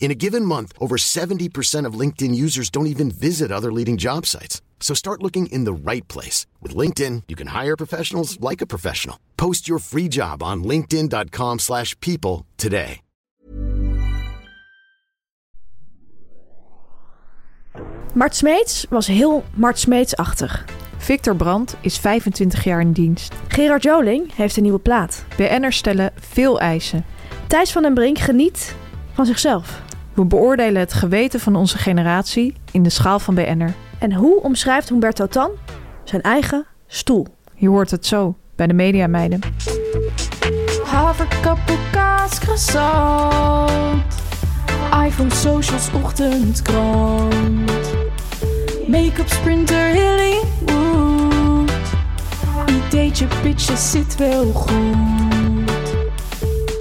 In a given month, over 70% of LinkedIn users don't even visit other leading job sites. So start looking in the right place. With LinkedIn, you can hire professionals like a professional. Post your free job on linkedin.com slash people today. Mart Smeets was heel Mart Smeetsachtig. Victor Brandt is 25 jaar in dienst. Gerard Joling heeft een nieuwe plaat. BN'ers stellen veel eisen. Thijs van den Brink geniet van zichzelf. We beoordelen het geweten van onze generatie in de schaal van BN'er. En hoe omschrijft Humberto Tan zijn eigen stoel? Je hoort het zo bij de Media Meiden. Haverkappel, kaas, croissant. iPhone, socials, ochtendkrant. Make-up, sprinter, Hollywood. Ideetje, pitjes, zit wel goed.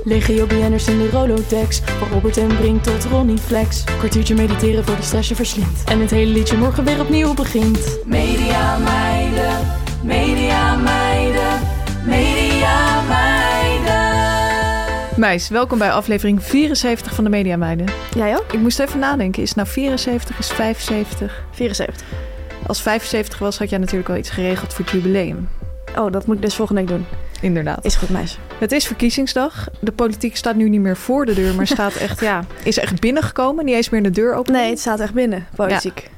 Legio BN'ers in de Rolodex. Van Robert en Brink tot Ronnie Flex. Kwartiertje mediteren voor de stress je verslindt. En het hele liedje morgen weer opnieuw begint. Media meiden, media meiden, media meiden. Meis, welkom bij aflevering 74 van de Media Meiden. Jij ook? Ik moest even nadenken, is het nou 74, is 75? 74. Als 75 was, had jij natuurlijk al iets geregeld voor het jubileum. Oh, dat moet ik dus volgende week doen. Inderdaad. Is goed, meisje. Het is verkiezingsdag. De politiek staat nu niet meer voor de deur, maar staat echt, ja, is echt binnengekomen. Niet eens meer de deur open. Nee, het staat echt binnen, politiek.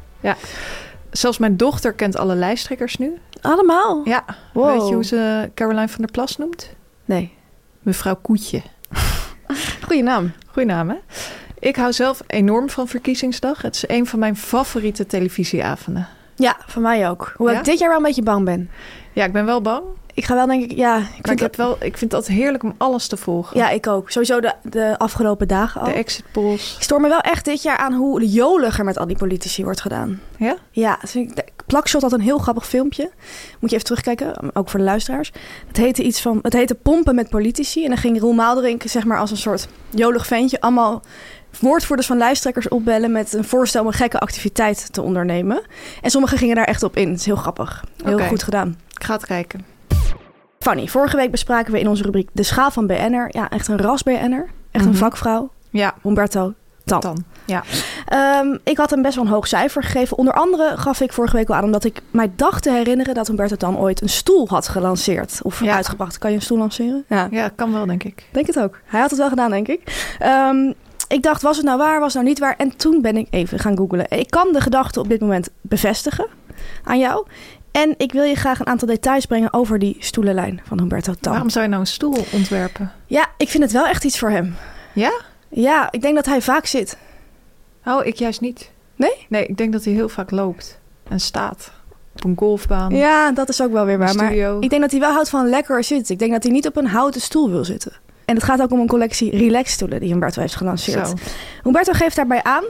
Zelfs mijn dochter kent alle lijsttrekkers nu. Allemaal? Ja. Wow. Weet je hoe ze Caroline van der Plas noemt? Nee. Mevrouw Koetje. Goeie naam. Goeie naam, hè? Ik hou zelf enorm van verkiezingsdag. Het is een van mijn favoriete televisieavonden. Ja, van mij ook. Hoewel Ja? ik dit jaar wel een beetje bang ben. Ja, ik ben wel bang. Ik ga wel denk ik, ja, ik Maar vind ik, heb wel, ik vind dat heerlijk om alles te volgen. Ja, ik ook. Sowieso de, de afgelopen dagen al. De exit polls. Ik stoor me wel echt dit jaar aan hoe joliger met al die politici wordt gedaan. Ja? Ja, dus ik- de- Plakshot had een heel grappig filmpje. Moet je even terugkijken, ook voor de luisteraars. Het heette iets van, het heette pompen met politici. En dan ging Roel Maalderink zeg maar als een soort jolig ventje allemaal woordvoerders van lijsttrekkers opbellen met een voorstel om een gekke activiteit te ondernemen. En sommigen gingen daar echt op in. Het is heel grappig. Heel Oké. goed gedaan. Ik ga het kijken. Fanny, vorige week bespraken we in onze rubriek de schaal van BN'er. Ja, echt een ras BN'er. Echt een Mhm. vakvrouw. Ja, Humberto Tan. dan. Ja. Ehm, ik had hem best wel een hoog cijfer gegeven. Onder andere gaf ik vorige week al aan omdat ik mij dacht te herinneren dat Humberto Dan ooit een stoel had gelanceerd. Of Ja. uitgebracht. Kan je een stoel lanceren? Ja. Ja, kan wel, denk ik. Denk het ook. Hij had het wel gedaan, denk ik. Ehm, ik dacht, was het nou waar, was het nou niet waar? En toen ben ik even gaan googlen. Ik kan de gedachte op dit moment bevestigen aan jou. En ik wil je graag een aantal details brengen over die stoelenlijn van Humberto Tan. Waarom zou je nou een stoel ontwerpen? Ja, ik vind het wel echt iets voor hem. Ja? Ja, ik denk dat hij vaak zit. Oh, ik juist niet. Nee? Nee, ik denk dat hij heel vaak loopt en staat. Op een golfbaan. Ja, dat is ook wel weer waar. Maar Studio. ik denk dat hij wel houdt van lekker zitten. Ik denk dat hij niet op een houten stoel wil zitten. En het gaat ook om een collectie relaxstoelen die Humberto heeft gelanceerd. Zo. Humberto geeft daarbij aan...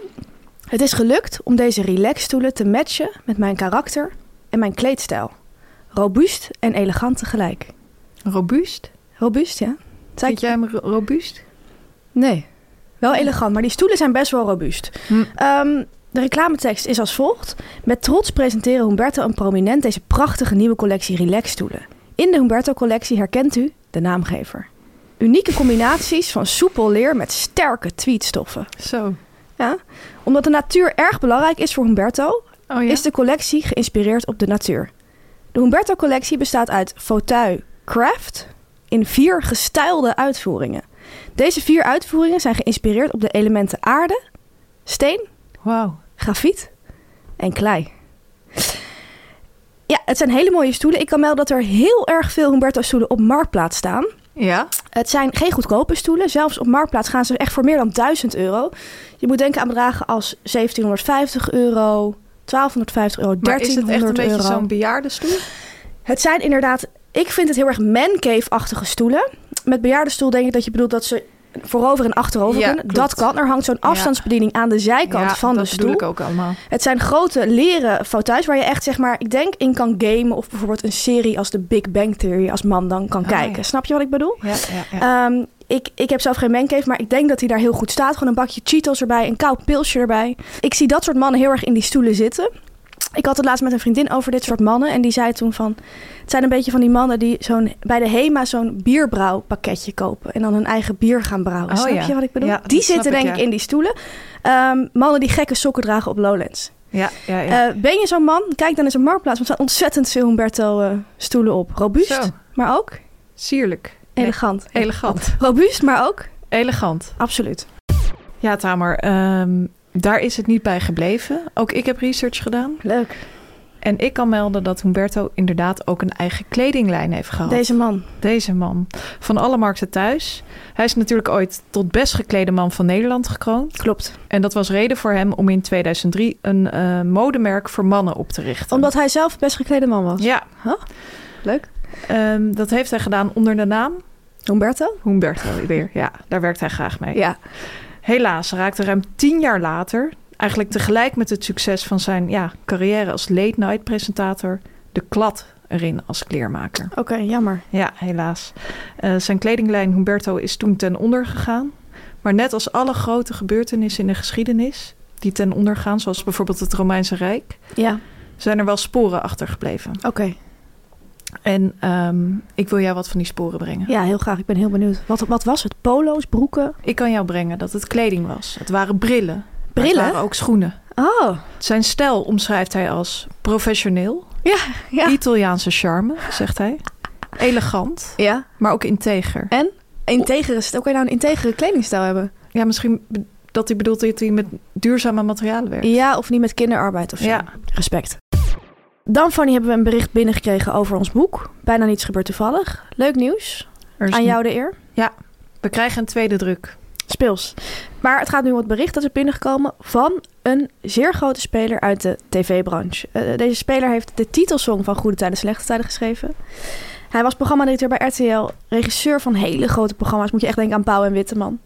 Het is gelukt om deze relaxstoelen te matchen met mijn karakter en mijn kleedstijl. Robuust en elegant tegelijk. Robuust? Robuust, ja? Zei Vind ik- jij hem ro- robuust? Nee. Wel elegant, maar die stoelen zijn best wel robuust. Hm. Ehm, de reclametekst is als volgt. Met trots presenteren Humberto en Prominent deze prachtige nieuwe collectie relaxstoelen. In de Humberto-collectie herkent u de naamgever. Unieke combinaties van soepel leer met sterke tweetstoffen. Zo. Ja? Omdat de natuur erg belangrijk is voor Humberto, Oh ja? is de collectie geïnspireerd op de natuur. De Humberto-collectie bestaat uit fauteuil craft in vier gestijlde uitvoeringen. Deze vier uitvoeringen zijn geïnspireerd op de elementen aarde, steen, Wauw. grafiet en klei. Ja, het zijn hele mooie stoelen. Ik kan melden dat er heel erg veel Humberto-stoelen op marktplaats staan. Ja? Het zijn geen goedkope stoelen. Zelfs op Marktplaats gaan ze echt voor meer dan 1000 euro. Je moet denken aan bedragen als 1750 euro, 1250 euro, Maar is 1300 het echt een beetje euro. zo'n bejaardenstoel? Het zijn inderdaad, ik vind het heel erg mancave-achtige stoelen. Met bejaardenstoel denk ik dat je bedoelt dat ze voorover en achterover Ja, kunnen. klopt. Dat kan. Er hangt zo'n Ja. afstandsbediening aan de zijkant Ja, van de dat bedoel stoel. ik ook allemaal. Het zijn grote leren fauteuils waar je echt, zeg maar, ik denk in kan gamen. Of bijvoorbeeld een serie als de Big Bang Theory als man dan kan Ah, kijken. ja. Snap je wat ik bedoel? Ja, ja, ja. Ehm, ik, ik heb zelf geen mancave, maar ik denk dat hij daar heel goed staat. Gewoon een bakje Cheetos erbij, een koud pilsje erbij. Ik zie dat soort mannen heel erg in die stoelen zitten. Ik had het laatst met een vriendin over dit soort mannen. En die zei toen van... Het zijn een beetje van die mannen die zo'n, bij de HEMA zo'n bierbrouwpakketje kopen. En dan hun eigen bier gaan brouwen. Oh snap ja. je wat ik bedoel? Ja, die dat snap zitten ik, denk ja. ik in die stoelen. Ehm, mannen die gekke sokken dragen op Lowlands. ja, ja, ja. Eh, ben je zo'n man? Kijk dan eens op Marktplaats. Want er staan ontzettend veel Humberto-stoelen op. Robuust, Zo. maar ook Sierlijk. elegant. Nee, elegant. Robuust, maar ook Elegant. absoluut. Ja, Tamer, ehm, daar is het niet bij gebleven. Ook ik heb research gedaan. Leuk. En ik kan melden dat Humberto inderdaad ook een eigen kledinglijn heeft gehad. Deze man. Deze man. Van alle markten thuis. Hij is natuurlijk ooit tot best geklede man van Nederland gekroond. Klopt. En dat was reden voor hem om in 2003 een eh, modemerk voor mannen op te richten. Omdat hij zelf best geklede man was. Ja, Leuk. ehm, dat heeft hij gedaan onder de naam Humberto? Humberto weer. Ja, daar werkt hij graag mee. Ja. Helaas raakte ruim tien jaar later, eigenlijk tegelijk met het succes van zijn ja, carrière als late-night presentator, de klad erin als kleermaker. Oké, jammer. Ja, helaas. Eh, zijn kledinglijn Humberto is toen ten onder gegaan. Maar net als alle grote gebeurtenissen in de geschiedenis die ten onder gaan, zoals bijvoorbeeld het Romeinse Rijk, Ja, zijn er wel sporen achtergebleven. oké. En ehm, ik wil jou wat van die sporen brengen. Ja, heel graag. Ik ben heel benieuwd. Wat, wat was het? Polo's, broeken? Ik kan jou brengen dat het kleding was. Het waren brillen. maar Brillen? Het waren ook schoenen. Oh, Zijn stijl omschrijft hij als professioneel, ja, ja. Italiaanse charme, zegt hij. Elegant, Ja. maar ook integer. En? Integere, st- hoe kan je nou een integere kledingstijl hebben? Ja, misschien be- dat hij bedoelt dat hij met duurzame materialen werkt. Ja, of niet met kinderarbeid of zo. Ja. Respect. Dan, Fanny, hebben we een bericht binnengekregen over ons boek. Bijna niets gebeurt toevallig. Leuk nieuws. Er is Aan een- jou de eer. We krijgen een tweede druk. Speels. Maar het gaat nu om het bericht dat is binnengekomen van een zeer grote speler uit de tv-branche. Eh, deze speler heeft de titelsong van Goede Tijden Slechte Tijden geschreven. Hij was programmadirecteur bij RTL, regisseur van hele grote programma's. Moet je echt denken aan Pauw en Witteman.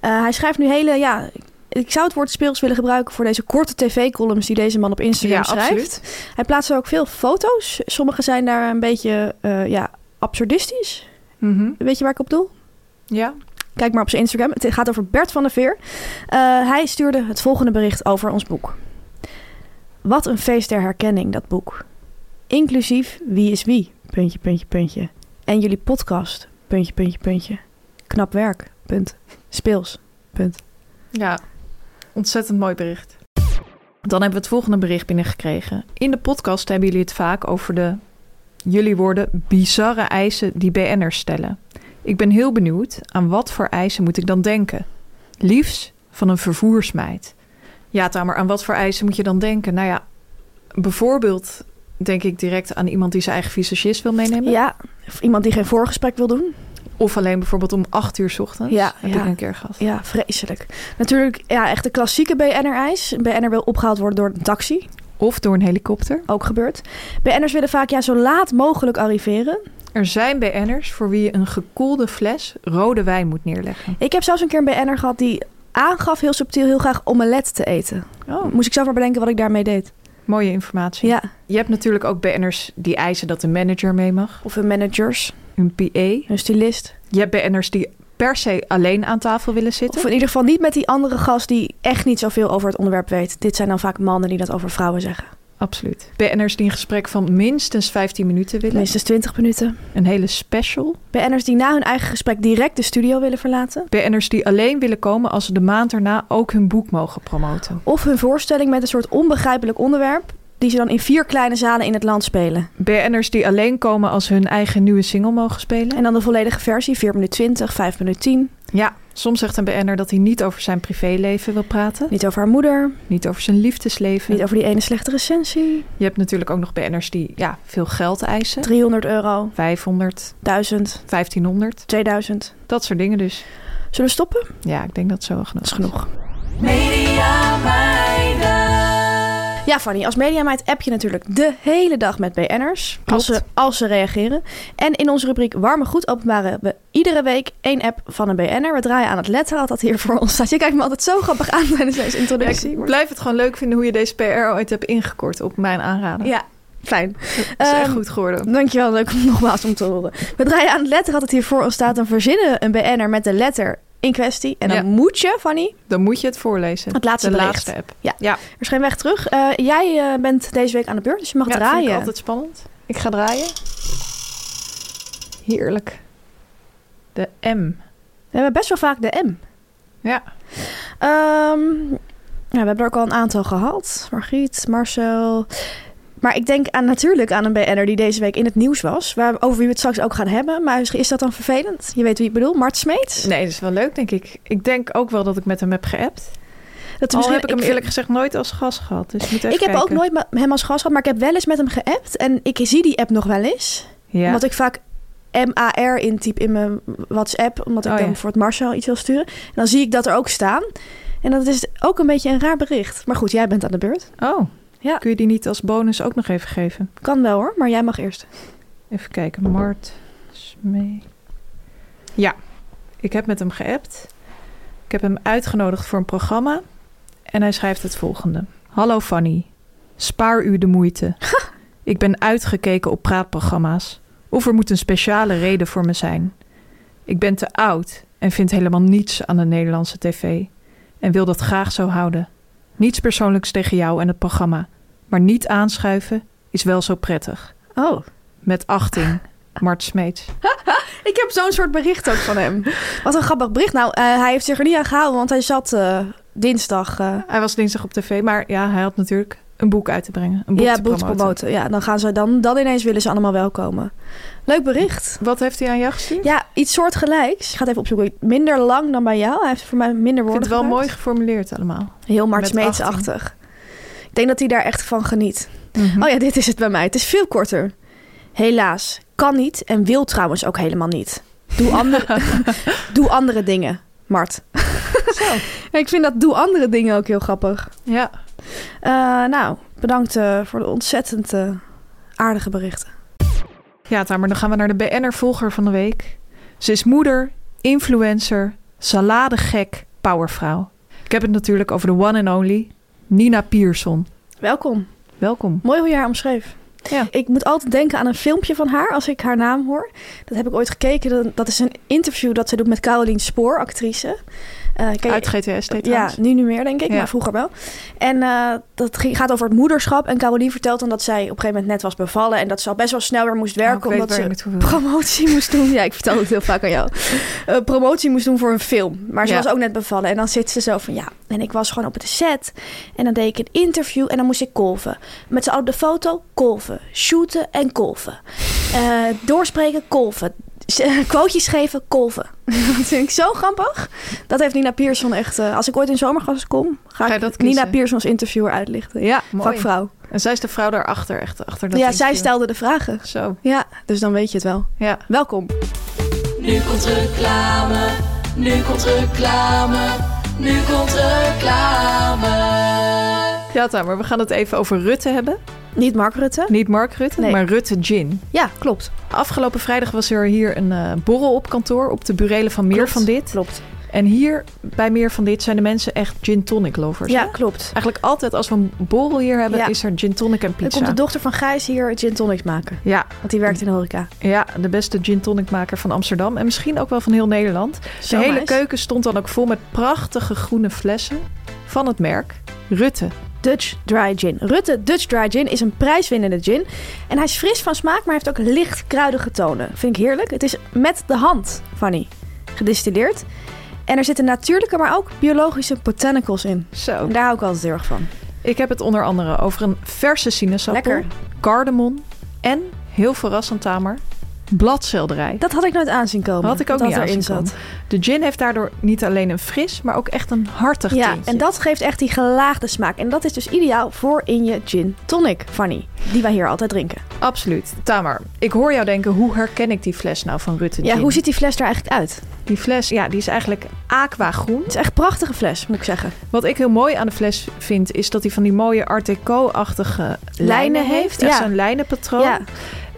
Eh, hij schrijft nu hele, ja, ik zou het woord speels willen gebruiken voor deze korte tv-columns die deze man op Instagram Ja, schrijft. Hij plaatst er ook veel foto's. Sommige zijn daar een beetje, eh, ja, absurdistisch. Mhm. Weet je waar ik op doel? Ja, Kijk maar op zijn Instagram. Het gaat over Bert van der Veer. Eh, hij stuurde het volgende bericht over ons boek. Wat een feest der herkenning, dat boek. Inclusief wie is wie, puntje, puntje, puntje. En jullie podcast, puntje, puntje, puntje. Knap werk, punt. Speels, punt. ja. Ontzettend mooi bericht. Dan hebben we het volgende bericht binnengekregen. In de podcast hebben jullie het vaak over de, jullie woorden, bizarre eisen die BN'ers stellen. Ik ben heel benieuwd, aan wat voor eisen moet ik dan denken? Liefst van een vervoersmeid. Ja, Tamer, aan wat voor eisen moet je dan denken? Nou ja, bijvoorbeeld denk ik direct aan iemand die zijn eigen visagist wil meenemen. Ja, of iemand die geen voorgesprek wil doen. Of alleen bijvoorbeeld om acht uur 's ochtends. Ja, heb ja. ik een keer gehad. Ja, vreselijk. Natuurlijk, ja, echt de klassieke BNR-eis. Een BNR wil opgehaald worden door een taxi. Of door een helikopter. Ook gebeurt. BN'ers willen vaak ja, zo laat mogelijk arriveren. Er zijn BN'ers voor wie je een gekoelde fles rode wijn moet neerleggen. Ik heb zelfs een keer een BN'er gehad die aangaf heel subtiel heel graag omelet te eten. Oh, Moest ik zelf maar bedenken wat ik daarmee deed. mooie informatie. Ja, Je hebt natuurlijk ook BN'ers die eisen dat de manager mee mag, of hun managers, een PA. hun stylist. Je hebt BN'ers die per se alleen aan tafel willen zitten. Of in ieder geval niet met die andere gast die echt niet zoveel over het onderwerp weet. Dit zijn dan vaak mannen die dat over vrouwen zeggen. Absoluut. BN'ers die een gesprek van minstens 15 minuten willen. Minstens 20 minuten. Een hele special. BN'ers die na hun eigen gesprek direct de studio willen verlaten. BN'ers die alleen willen komen als ze de maand daarna ook hun boek mogen promoten. Of hun voorstelling met een soort onbegrijpelijk onderwerp. Die ze dan in vier kleine zalen in het land spelen. BN'ers die alleen komen als ze hun eigen nieuwe single mogen spelen. En dan de volledige versie, 4 minuten 20, 5 minuten 10. Ja, soms zegt een BN'er dat hij niet over zijn privéleven wil praten. Niet over haar moeder, Niet over zijn liefdesleven. niet over die ene slechte recensie. Je hebt natuurlijk ook nog BN'ers die ja, veel geld eisen. 300 euro, 500, 1000, 1500. 2000. Dat soort dingen dus. Zullen we stoppen? Ja, ik denk dat zo wel genoeg Dat is genoeg. Ja, Fanny, als mediameid app je natuurlijk de hele dag met BN'ers. Als ze, als ze reageren. En in onze rubriek Warme Goed openbaren we iedere week één app van een BN'er. We draaien aan het letterrad dat hier voor ons staat. Je kijkt me altijd zo grappig aan tijdens deze introductie. Ik blijf het gewoon leuk vinden hoe je deze PR ooit hebt ingekort op mijn aanraden. Ja, fijn. Dat is echt Ehm, goed geworden. Dankjewel, leuk om nogmaals om te horen. We draaien aan het letterrad dat hier voor ons staat. Dan verzinnen een BN'er met de letter in kwestie. En dan Ja. moet je, Fanny, Dan moet je het voorlezen. Het laatste De bericht. laatste app. Ja. ja. er is geen weg terug. Eh, jij eh, bent deze week aan de beurt, dus je mag Ja, dat draaien. vind ik altijd spannend. Ik ga draaien. Heerlijk. De M. We hebben best wel vaak de M. Ja. Ehm, ja, we hebben er ook al een aantal gehad. Margriet, Marcel. Maar ik denk aan, natuurlijk aan een BN'er die deze week in het nieuws was. Waar, over wie we het straks ook gaan hebben. Maar misschien is dat dan vervelend? Je weet wie ik bedoel, Mart Smeets. Nee, dat is wel leuk, denk ik. Ik denk ook wel dat ik met hem heb geappt. Dat Al heb ik hem vind- eerlijk gezegd nooit als gast gehad. Dus je moet even Ik heb kijken. ook nooit met hem als gast gehad, maar ik heb wel eens met hem geappt. En ik zie die app nog wel eens. Ja. Omdat ik vaak MAR intyp in mijn WhatsApp. Omdat ik Oh, dan ja. voor het Marcel iets wil sturen. En dan zie ik dat er ook staan. En dat is ook een beetje een raar bericht. Maar goed, jij bent aan de beurt. Oh, Ja. kun je die niet als bonus ook nog even geven? Kan wel hoor, maar jij mag eerst. Even kijken. Mart Smee. Ja, ik heb met hem geappt. Ik heb hem uitgenodigd voor een programma. En hij schrijft het volgende. Hallo Fanny. Spaar u de moeite. Ik ben uitgekeken op praatprogramma's. Of er moet een speciale reden voor me zijn. Ik ben te oud en vind helemaal niets aan de Nederlandse tv. En wil dat graag zo houden. Niets persoonlijks tegen jou en het programma. Maar niet aanschuiven is wel zo prettig. Oh. Met achting, Mart Smeets. Ik heb zo'n soort bericht ook van hem. Wat een grappig bericht. Nou, eh, hij heeft zich er niet aan gehouden, want hij zat eh, dinsdag... eh, Hij was dinsdag op tv, maar ja, hij had natuurlijk een boek uit te brengen. Een boek ja, te boek te promoten. promoten. Ja, dan gaan ze dan, dan ineens willen ze allemaal wel komen. Leuk bericht. Wat heeft hij aan jou gestuurd? Ja, iets soortgelijks. Ik ga het even opzoeken. Minder lang dan bij jou. Hij heeft voor mij minder Ik vind woorden het wel mooi gebruikt. geformuleerd allemaal. Heel Mart Met Smeets-achtig. Ik denk dat hij daar echt van geniet. Hm. Oh ja, dit is het bij mij. Het is veel korter. Helaas. Kan niet en wil trouwens ook helemaal niet. Doe andere, doe andere dingen, Mart. Ik vind dat doe andere dingen ook heel grappig. Ja, Eh, nou, bedankt eh, voor de ontzettend eh, aardige berichten. ja Tamer, dan gaan we naar de BN'er-volger van de week. Ze is moeder, influencer, saladegek, powervrouw. Ik heb het natuurlijk over de one and only Nina Pierson. Welkom. Welkom. Mooi hoe je haar omschreef. Ja. Ik moet altijd denken aan een filmpje van haar als ik haar naam hoor. Dat heb ik ooit gekeken. Dat- Dat is een interview dat ze doet met Caroline Spoor, actrice. Eh, ken je- Uit GTS ja, trouwens. nu niet meer denk ik, Ja. maar vroeger wel. En eh, dat ging- gaat over het moederschap. En Caroline vertelt dan dat zij op een gegeven moment net was bevallen. En dat ze al best wel snel weer moest Oh, ik werken. weet omdat waar je ze naartoe wil. promotie moest doen. Ja, ik vertel het heel vaak aan jou. Eh, promotie moest doen voor een film. Maar ze Ja. was ook net bevallen. En dan zit ze zo van ja. En ik was gewoon op de set. En dan deed ik een interview. En dan moest ik kolven. Met z'n allen op de foto kolven. Shooten en kolven. Eh, doorspreken kolven. Z- eh, Quotejes geven kolven. dat vind ik zo grappig. Dat heeft Nina Pierson echt. eh, als ik ooit in zomergast kom, ga, Ga je ik dat kiezen? Nina Pierson als interviewer uitlichten. Ja, mooi. Vakvrouw. En zij is de vrouw daarachter, echt achter dat ja, zij interview. stelde de vragen. Zo, Ja, dus dan weet je het wel. ja. Welkom. Nu komt reclame, nu komt reclame, nu komt reclame. Ja, Tamer, we gaan het even over Rutte hebben. Niet Mark Rutte. Niet Mark Rutte, Nee. maar Rutte Gin. Ja, klopt. Afgelopen vrijdag was er hier een eh, borrel op kantoor op de burelen van Meer Klopt, van Dit. Klopt. En hier bij Meer van Dit zijn de mensen echt gin tonic lovers. Ja, hè? klopt. Eigenlijk altijd als we een borrel hier hebben, Ja. is er gin tonic en Dan pizza. komt de dochter van Gijs hier gin tonics maken. ja, Want die werkt in de horeca. ja, de beste gin tonicmaker van Amsterdam en misschien ook wel van heel Nederland. Zo De hele nice. keuken stond dan ook vol met prachtige groene flessen van het merk Rutte. Dutch Dry Gin. Rutte Dutch Dry Gin is een prijswinnende gin. En hij is fris van smaak, maar heeft ook licht kruidige tonen. Vind ik heerlijk. Het is met de hand, Fanny, gedistilleerd. En er zitten natuurlijke, maar ook biologische botanicals in. Zo. En daar hou ik altijd heel erg van. Ik heb het onder andere over een verse sinaasappel, Lekker. cardamom en, heel verrassend tamer, bladselderij. Dat had ik nooit aanzien komen. had ik ook dat niet erin aanzien zat. komen. De gin heeft daardoor niet alleen een fris, maar ook echt een hartig Ja, tintje. en dat geeft echt die gelaagde smaak. En dat is dus ideaal voor in je gin tonic, Fanny. Die wij hier altijd drinken. Absoluut. Tamer, ik hoor jou denken, hoe herken ik die fles nou van Rutte Ja, Gin? hoe ziet die fles er eigenlijk uit? Die fles, ja, die is eigenlijk aquagroen. Het is echt een prachtige fles, moet ik zeggen. Wat ik heel mooi aan de fles vind, is dat hij van die mooie Art Deco-achtige lijnen, heeft. heeft, Echt ja. zo'n lijnenpatroon. Ja.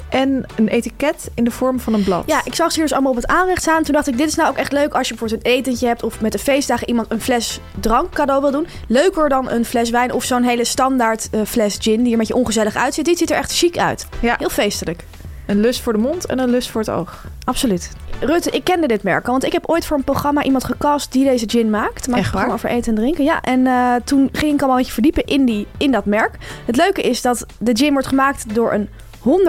En een etiket in de vorm van een blad. Ja, ik zag ze hier dus allemaal op het aanrecht staan. Toen dacht ik, dit is nou ook echt leuk als je bijvoorbeeld een etentje hebt... of met de feestdagen iemand een fles drank cadeau wil doen. Leuker dan een fles wijn of zo'n hele standaard eh, fles gin... die er met je ongezellig uitziet. Dit ziet er echt chic uit. Ja. Heel feestelijk. Een lust voor de mond en een lust voor het oog. Absoluut. Rutte, ik kende dit merk al, want ik heb ooit voor een programma iemand gecast die deze gin maakt. Maar Echt een programma waar? over eten en drinken. Ja, en eh, toen ging ik al een beetje verdiepen in, die, in dat merk. Het leuke is dat de gin wordt gemaakt door een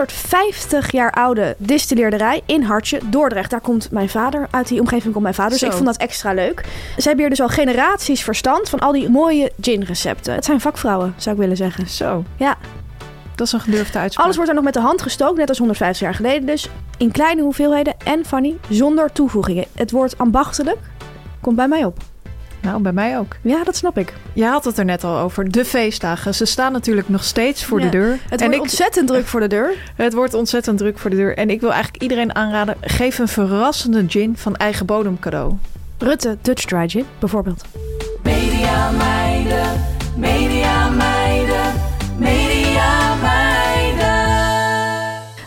150 jaar oude distilleerderij in Hartje, Dordrecht. Daar komt mijn vader, uit die omgeving komt mijn vader. Dus Zo. ik vond dat extra leuk. Ze hebben hier dus al generaties verstand van al die mooie gin-recepten. Het zijn vakvrouwen, zou ik willen zeggen. Zo, Ja, dat is een gedurfde uitspraak. alles wordt er nog met de hand gestookt, net als 150 jaar geleden dus. In kleine hoeveelheden en, Fanny, zonder toevoegingen. Het woord ambachtelijk komt bij mij op. Nou, bij mij ook. Ja, dat snap ik. Je had het er net al over. De feestdagen. Ze staan natuurlijk nog steeds voor Ja. de deur. Het en wordt ik, ontzettend druk voor de deur. het wordt ontzettend druk voor de deur. En ik wil eigenlijk iedereen aanraden: geef een verrassende gin van eigen bodem cadeau. Rutte, Dutch Dry Gin, bijvoorbeeld. Media meiden, media meiden, media meiden.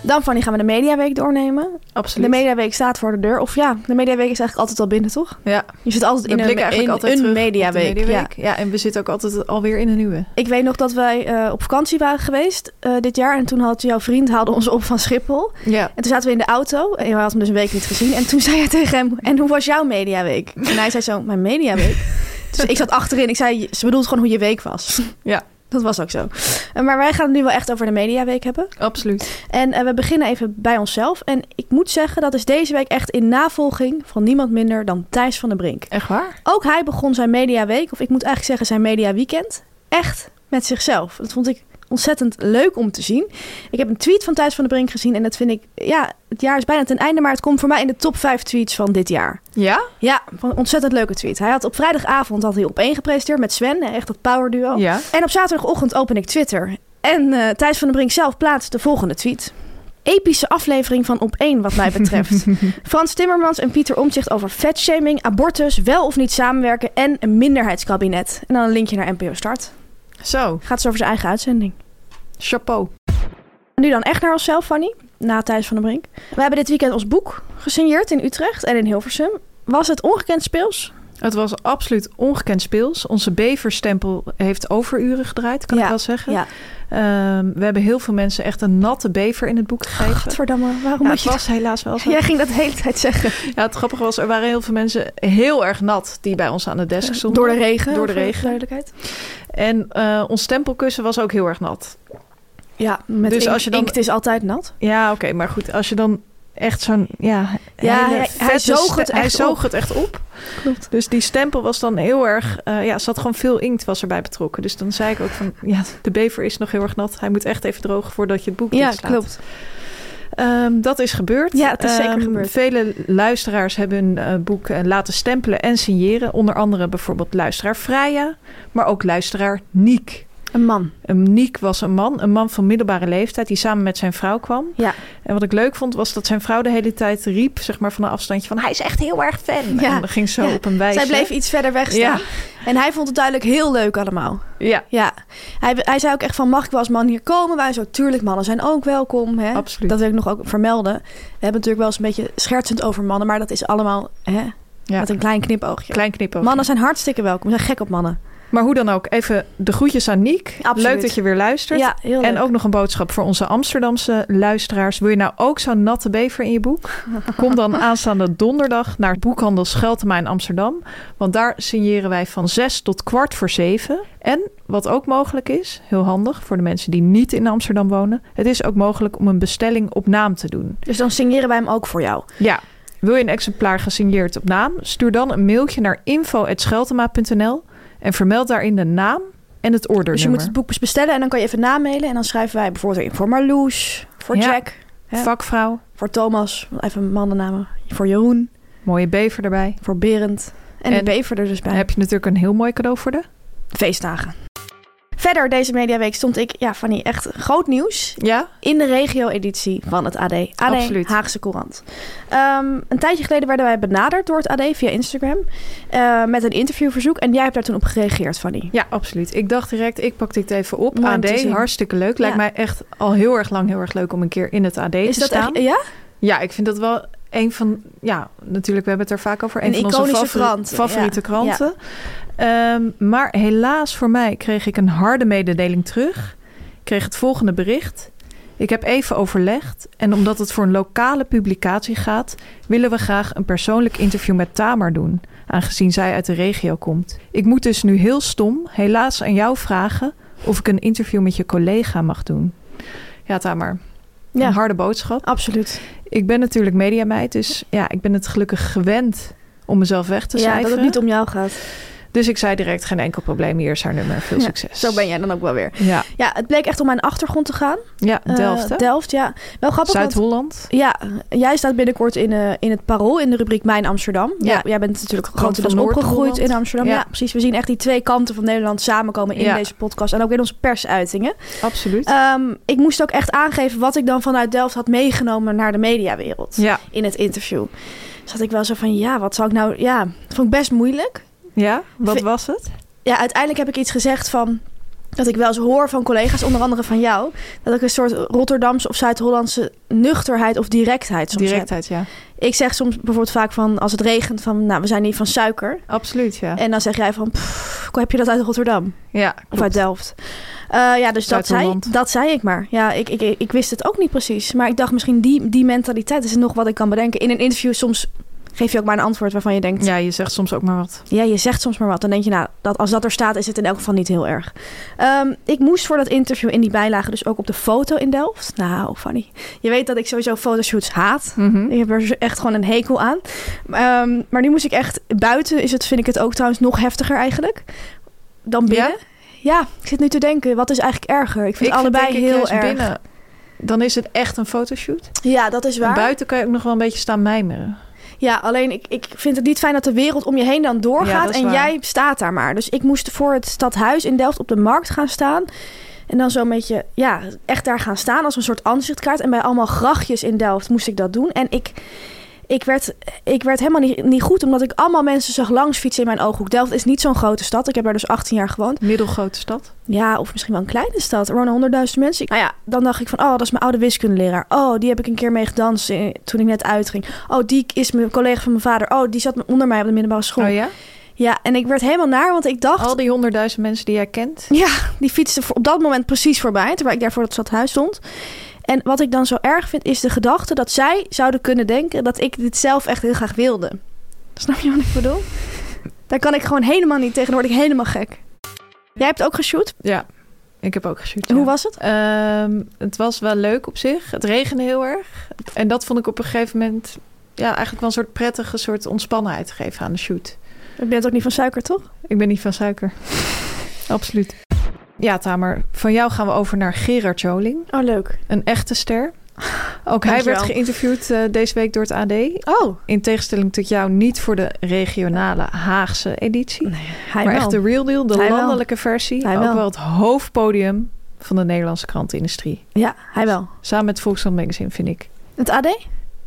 Dan, Fanny, gaan we de Mediaweek doornemen. Absoluut. De Mediaweek staat voor de deur. Of ja, de Mediaweek is eigenlijk altijd al binnen, toch? ja, Je zit altijd we in een, blikken eigenlijk in altijd een terug Mediaweek. op de Ja. Mediaweek. Ja. en we zitten ook altijd alweer in een nieuwe. Ik weet nog dat wij eh, op vakantie waren geweest eh, dit jaar. En toen had jouw vriend haalde ons op van Schiphol. Ja. En toen zaten we in de auto en we hadden hem dus een week niet gezien. En toen zei hij tegen hem, en hoe was jouw mediaweek? En hij zei zo, mijn mediaweek? Dus ik zat achterin, ik zei, ze bedoelt gewoon hoe je week was. Ja. Dat was ook zo. Eh, Maar wij gaan het nu wel echt over de mediaweek hebben. Absoluut. En eh, we beginnen even bij onszelf. En ik moet zeggen, dat is deze week echt in navolging van niemand minder dan Thijs van der Brink. Echt waar? Ook hij begon zijn mediaweek, of ik moet eigenlijk zeggen zijn mediaweekend, echt met zichzelf. Dat vond ik ontzettend leuk om te zien. Ik heb een tweet van Thijs van der Brink gezien en dat vind ik... Ja, het jaar is bijna ten einde, maar het komt voor mij in de top 5 tweets van dit jaar. Ja? Ja, van een ontzettend leuke tweet. Hij had op vrijdagavond had hij op één gepresenteerd met Sven, echt dat power duo. Ja. En op zaterdagochtend open ik Twitter. En eh, Thijs van den Brink zelf plaatst de volgende tweet. Epische aflevering van Op 1 wat mij betreft. Frans Timmermans en Pieter Omtzigt over vetshaming, abortus, wel of niet samenwerken en een minderheidskabinet. En dan een linkje naar NPO Start. Zo, Gaat ze over zijn eigen uitzending. chapeau. Nu dan echt naar onszelf, Fanny. Na Thijs van den Brink. We hebben dit weekend ons boek gesigneerd in Utrecht en in Hilversum. Was het ongekend speels? Het was absoluut ongekend speels. Onze beverstempel heeft overuren gedraaid, kan ik wel zeggen. Ehm, we hebben heel veel mensen echt een natte bever in het boek gegeven. Godverdamme, waarom Ja, moet het je was helaas wel dat- zo. Jij ging dat de hele tijd zeggen. Ja, het grappige was, er waren heel veel mensen heel erg nat die bij ons aan de desk stonden. Door de regen. Door de voor regen. Duidelijkheid. En eh, ons stempelkussen was ook heel erg nat. Ja, met Dus ink- als je dan- inkt is altijd nat. Ja, oké, maar goed, als je dan echt zo'n. Ja, Ja, hele hij- vette hij zoog het ste- hij echt zoog op. het echt op. Klopt. Dus die stempel was dan heel erg. eh, ja, er zat gewoon veel inkt was erbij betrokken. Dus dan zei ik ook van. Ja, de bever is nog heel erg nat. Hij moet echt even drogen voordat je het boek Ja, dichtslaat. klopt. Ehm, dat is gebeurd. Ja, het is zeker Ehm, gebeurd. Vele luisteraars hebben hun eh, boek eh, laten stempelen en signeren. Onder andere bijvoorbeeld luisteraar Freya, maar ook luisteraar Niek. Een man. Ehm, Niek was een man, een man van middelbare leeftijd, die samen met zijn vrouw kwam. Ja. En wat ik leuk vond, was dat zijn vrouw de hele tijd riep, zeg maar van een afstandje, van hij is echt heel erg fan. Ja. En dan ging ze Ja. op een wijze. Zij bleef iets verder weg staan. Ja. En hij vond het duidelijk heel leuk allemaal. Ja, Ja. Hij, hij zei ook echt van, mag ik wel als man hier komen? Wij zo, tuurlijk, mannen zijn ook welkom. Hè? Absoluut. Dat wil ik nog ook vermelden. We hebben natuurlijk wel eens een beetje schertsend over mannen. Maar dat is allemaal hè, ja. met een klein knipoogje. klein knipoogje. Mannen zijn hartstikke welkom. We zijn gek op mannen. Maar hoe dan ook, even de groetjes aan Niek. Absoluut. Leuk dat je weer luistert. Ja, heel leuk. En ook nog een boodschap voor onze Amsterdamse luisteraars. Wil je nou ook zo'n natte bever in je boek? Kom dan aanstaande donderdag naar boekhandel Scheltema in Amsterdam. Want daar signeren wij van 6 tot kwart voor 7. En wat ook mogelijk is, heel handig voor de mensen die niet in Amsterdam wonen. Het is ook mogelijk om een bestelling op naam te doen. Dus dan signeren wij hem ook voor jou. Ja. Wil je een exemplaar gesigneerd op naam? Stuur dan een mailtje naar info.scheltema.nl en vermeld daarin de naam en het ordernummer. Dus je moet het boek bestellen en dan kan je even namelen. En dan schrijven wij bijvoorbeeld erin voor Marloes, voor Ja. Jack. hè. Vakvrouw, Voor Thomas, even mannennamen. Voor Jeroen, Mooie bever erbij. voor Berend. En, En- de bever er dus bij. Dan heb je natuurlijk een heel mooi cadeau voor de. feestdagen. Verder deze mediaweek stond ik, ja Fanny, echt groot nieuws Ja? in de regio-editie van het AD. AD Absoluut. Haagse Courant. Ehm, een tijdje geleden werden wij benaderd door het AD via Instagram eh, met een interviewverzoek. En jij hebt daar toen op gereageerd, Fanny. Ja, absoluut. Ik dacht direct, ik pak dit even op. Mooi om te AD, zien. hartstikke leuk. Lijkt Ja. mij echt al heel erg lang heel erg leuk om een keer in het AD te dat staan. echt- ja? Ja, ik vind dat wel een van... Ja, natuurlijk, we hebben het er vaak over. Een, Een van onze iconische favori- krant, ja. favoriete kranten. Ehm, maar helaas voor mij kreeg ik een harde mededeling terug. Ik kreeg het volgende bericht. Ik heb even overlegd. En omdat het voor een lokale publicatie gaat... willen we graag een persoonlijk interview met Tamar doen. Aangezien zij uit de regio komt. Ik moet dus nu heel stom helaas aan jou vragen... of ik een interview met je collega mag doen. Ja, Tamar. Ja. Een harde boodschap. Absoluut. Ik ben natuurlijk mediameid, dus ja, ik ben het gelukkig gewend om mezelf weg te Ja, dat cijferen. het niet om jou gaat. Dus ik zei direct, geen enkel probleem, hier is haar nummer, veel Ja, succes. Zo ben jij dan ook wel weer. Ja, Ja, het bleek echt om mijn achtergrond te gaan. ja Eh, Delft, hè? Delft, ja. Wel grappig, want Zuid-Holland. Ja, jij staat binnenkort in, eh, in het parool in de rubriek Mijn Amsterdam. Ja. Ja. jij bent natuurlijk Krant van grotendeels opgegroeid Noord-Holland. in Amsterdam. Ja. Ja. precies. We zien echt die twee kanten van Nederland samenkomen in Ja. deze podcast. En ook in onze persuitingen. Absoluut. Ehm, ik moest ook echt aangeven wat ik dan vanuit Delft had meegenomen naar de mediawereld. ja, In het interview. Dus had ik wel zo van, ja, wat zal ik nou... Ja, dat vond ik best moeilijk. ja, wat Vind- was het? Ja, uiteindelijk heb ik iets gezegd van... Dat ik wel eens hoor van collega's, onder andere van jou... dat ik een soort Rotterdamse of Zuid-Hollandse nuchterheid of directheid soms heb. Directheid, ja. Ik zeg soms bijvoorbeeld vaak van als het regent van nou we zijn niet van suiker. Absoluut, ja. En dan zeg jij van "Pff, hoe heb je dat uit Rotterdam Ja, Eh, of klopt. uit Delft? Eh, ja, dus dat zei, Zuid-Holland. dat zei ik maar. Ja, ik, ik, ik wist het ook niet precies. Maar ik dacht misschien die, die mentaliteit is nog wat ik kan bedenken. In een interview soms geef je ook maar een antwoord waarvan je denkt... Ja. ja, je zegt soms ook maar wat. je zegt soms maar wat. Dan denk je nou, dat, als dat er staat is het in elk geval niet heel erg. Ehm, ik moest voor dat interview in die bijlage dus ook op de foto in Delft. Nou, Fanny, je weet dat ik sowieso fotoshoots haat. Mhm. Ik heb er dus echt gewoon een hekel aan. Ehm, maar nu moest ik echt... Buiten is het, vind ik het ook trouwens nog heftiger eigenlijk. Dan binnen. Ja? Ja? ik zit nu te denken. Wat is eigenlijk erger? Ik vind Ik allebei denk ik heel juist erg. binnen, dan is het echt een fotoshoot. Ja, dat is En waar. Buiten kan je ook nog wel een beetje staan mijmeren. Ja, alleen ik, ik vind het niet fijn dat de wereld om je heen dan Ja, doorgaat. dat is en waar. jij staat daar maar. Dus ik moest voor het stadhuis in Delft op de markt gaan staan. En dan zo'n beetje, ja, echt daar gaan staan als een soort aanzichtkaart. En bij allemaal grachtjes in Delft moest ik dat doen. En ik, ik, werd, ik werd helemaal niet, niet goed, omdat ik allemaal mensen zag langs fietsen in mijn ooghoek. Delft is niet zo'n grote stad. Ik heb daar dus 18 jaar gewoond. Middelgrote stad. Ja, of misschien wel een kleine stad. Er wonen 100.000 mensen. Nou ja, dan dacht ik van, oh, dat is mijn oude wiskundeleraar. Oh, die heb ik een keer mee gedanst eh, toen ik net uitging. Oh, die is mijn collega van mijn vader. Oh, die zat onder mij op de middelbare school. Oh ja. ja? Oh. en ik werd helemaal naar, want ik dacht... Al die honderdduizend mensen die jij kent. Ja, die fietste voor- op dat moment precies voorbij, terwijl ik daar voor dat stadhuis stond. En wat ik dan zo erg vind, is de gedachte dat zij zouden kunnen denken dat ik dit zelf echt heel graag wilde. Snap je wat ik bedoel? Daar kan ik gewoon helemaal niet tegen, dan word ik helemaal gek. Jij hebt ook geshoot. Ja, ik heb ook geshoot. ja. Hoe was het? Ehm, het was wel leuk op zich. Het regende heel erg. En dat vond ik op een gegeven moment ja, eigenlijk wel een soort prettige soort ontspannenheid geven aan de shoot. Je bent ook niet van suiker, toch? Ik ben niet van suiker. Absoluut. Ja, Tamer, van jou gaan we over naar Gerard Joling, Oh, leuk. een echte ster. Ook hij Dankjewel. werd geïnterviewd eh, deze week door het AD. Oh, In tegenstelling tot jou niet voor de regionale Haagse editie. hij maar wel. echt de real deal, de Hij wel. landelijke versie. Hij ook wel. wel het hoofdpodium van de Nederlandse krantenindustrie. Ja, hij wel. Samen met Volkskrant Magazine, vind ik. Het AD?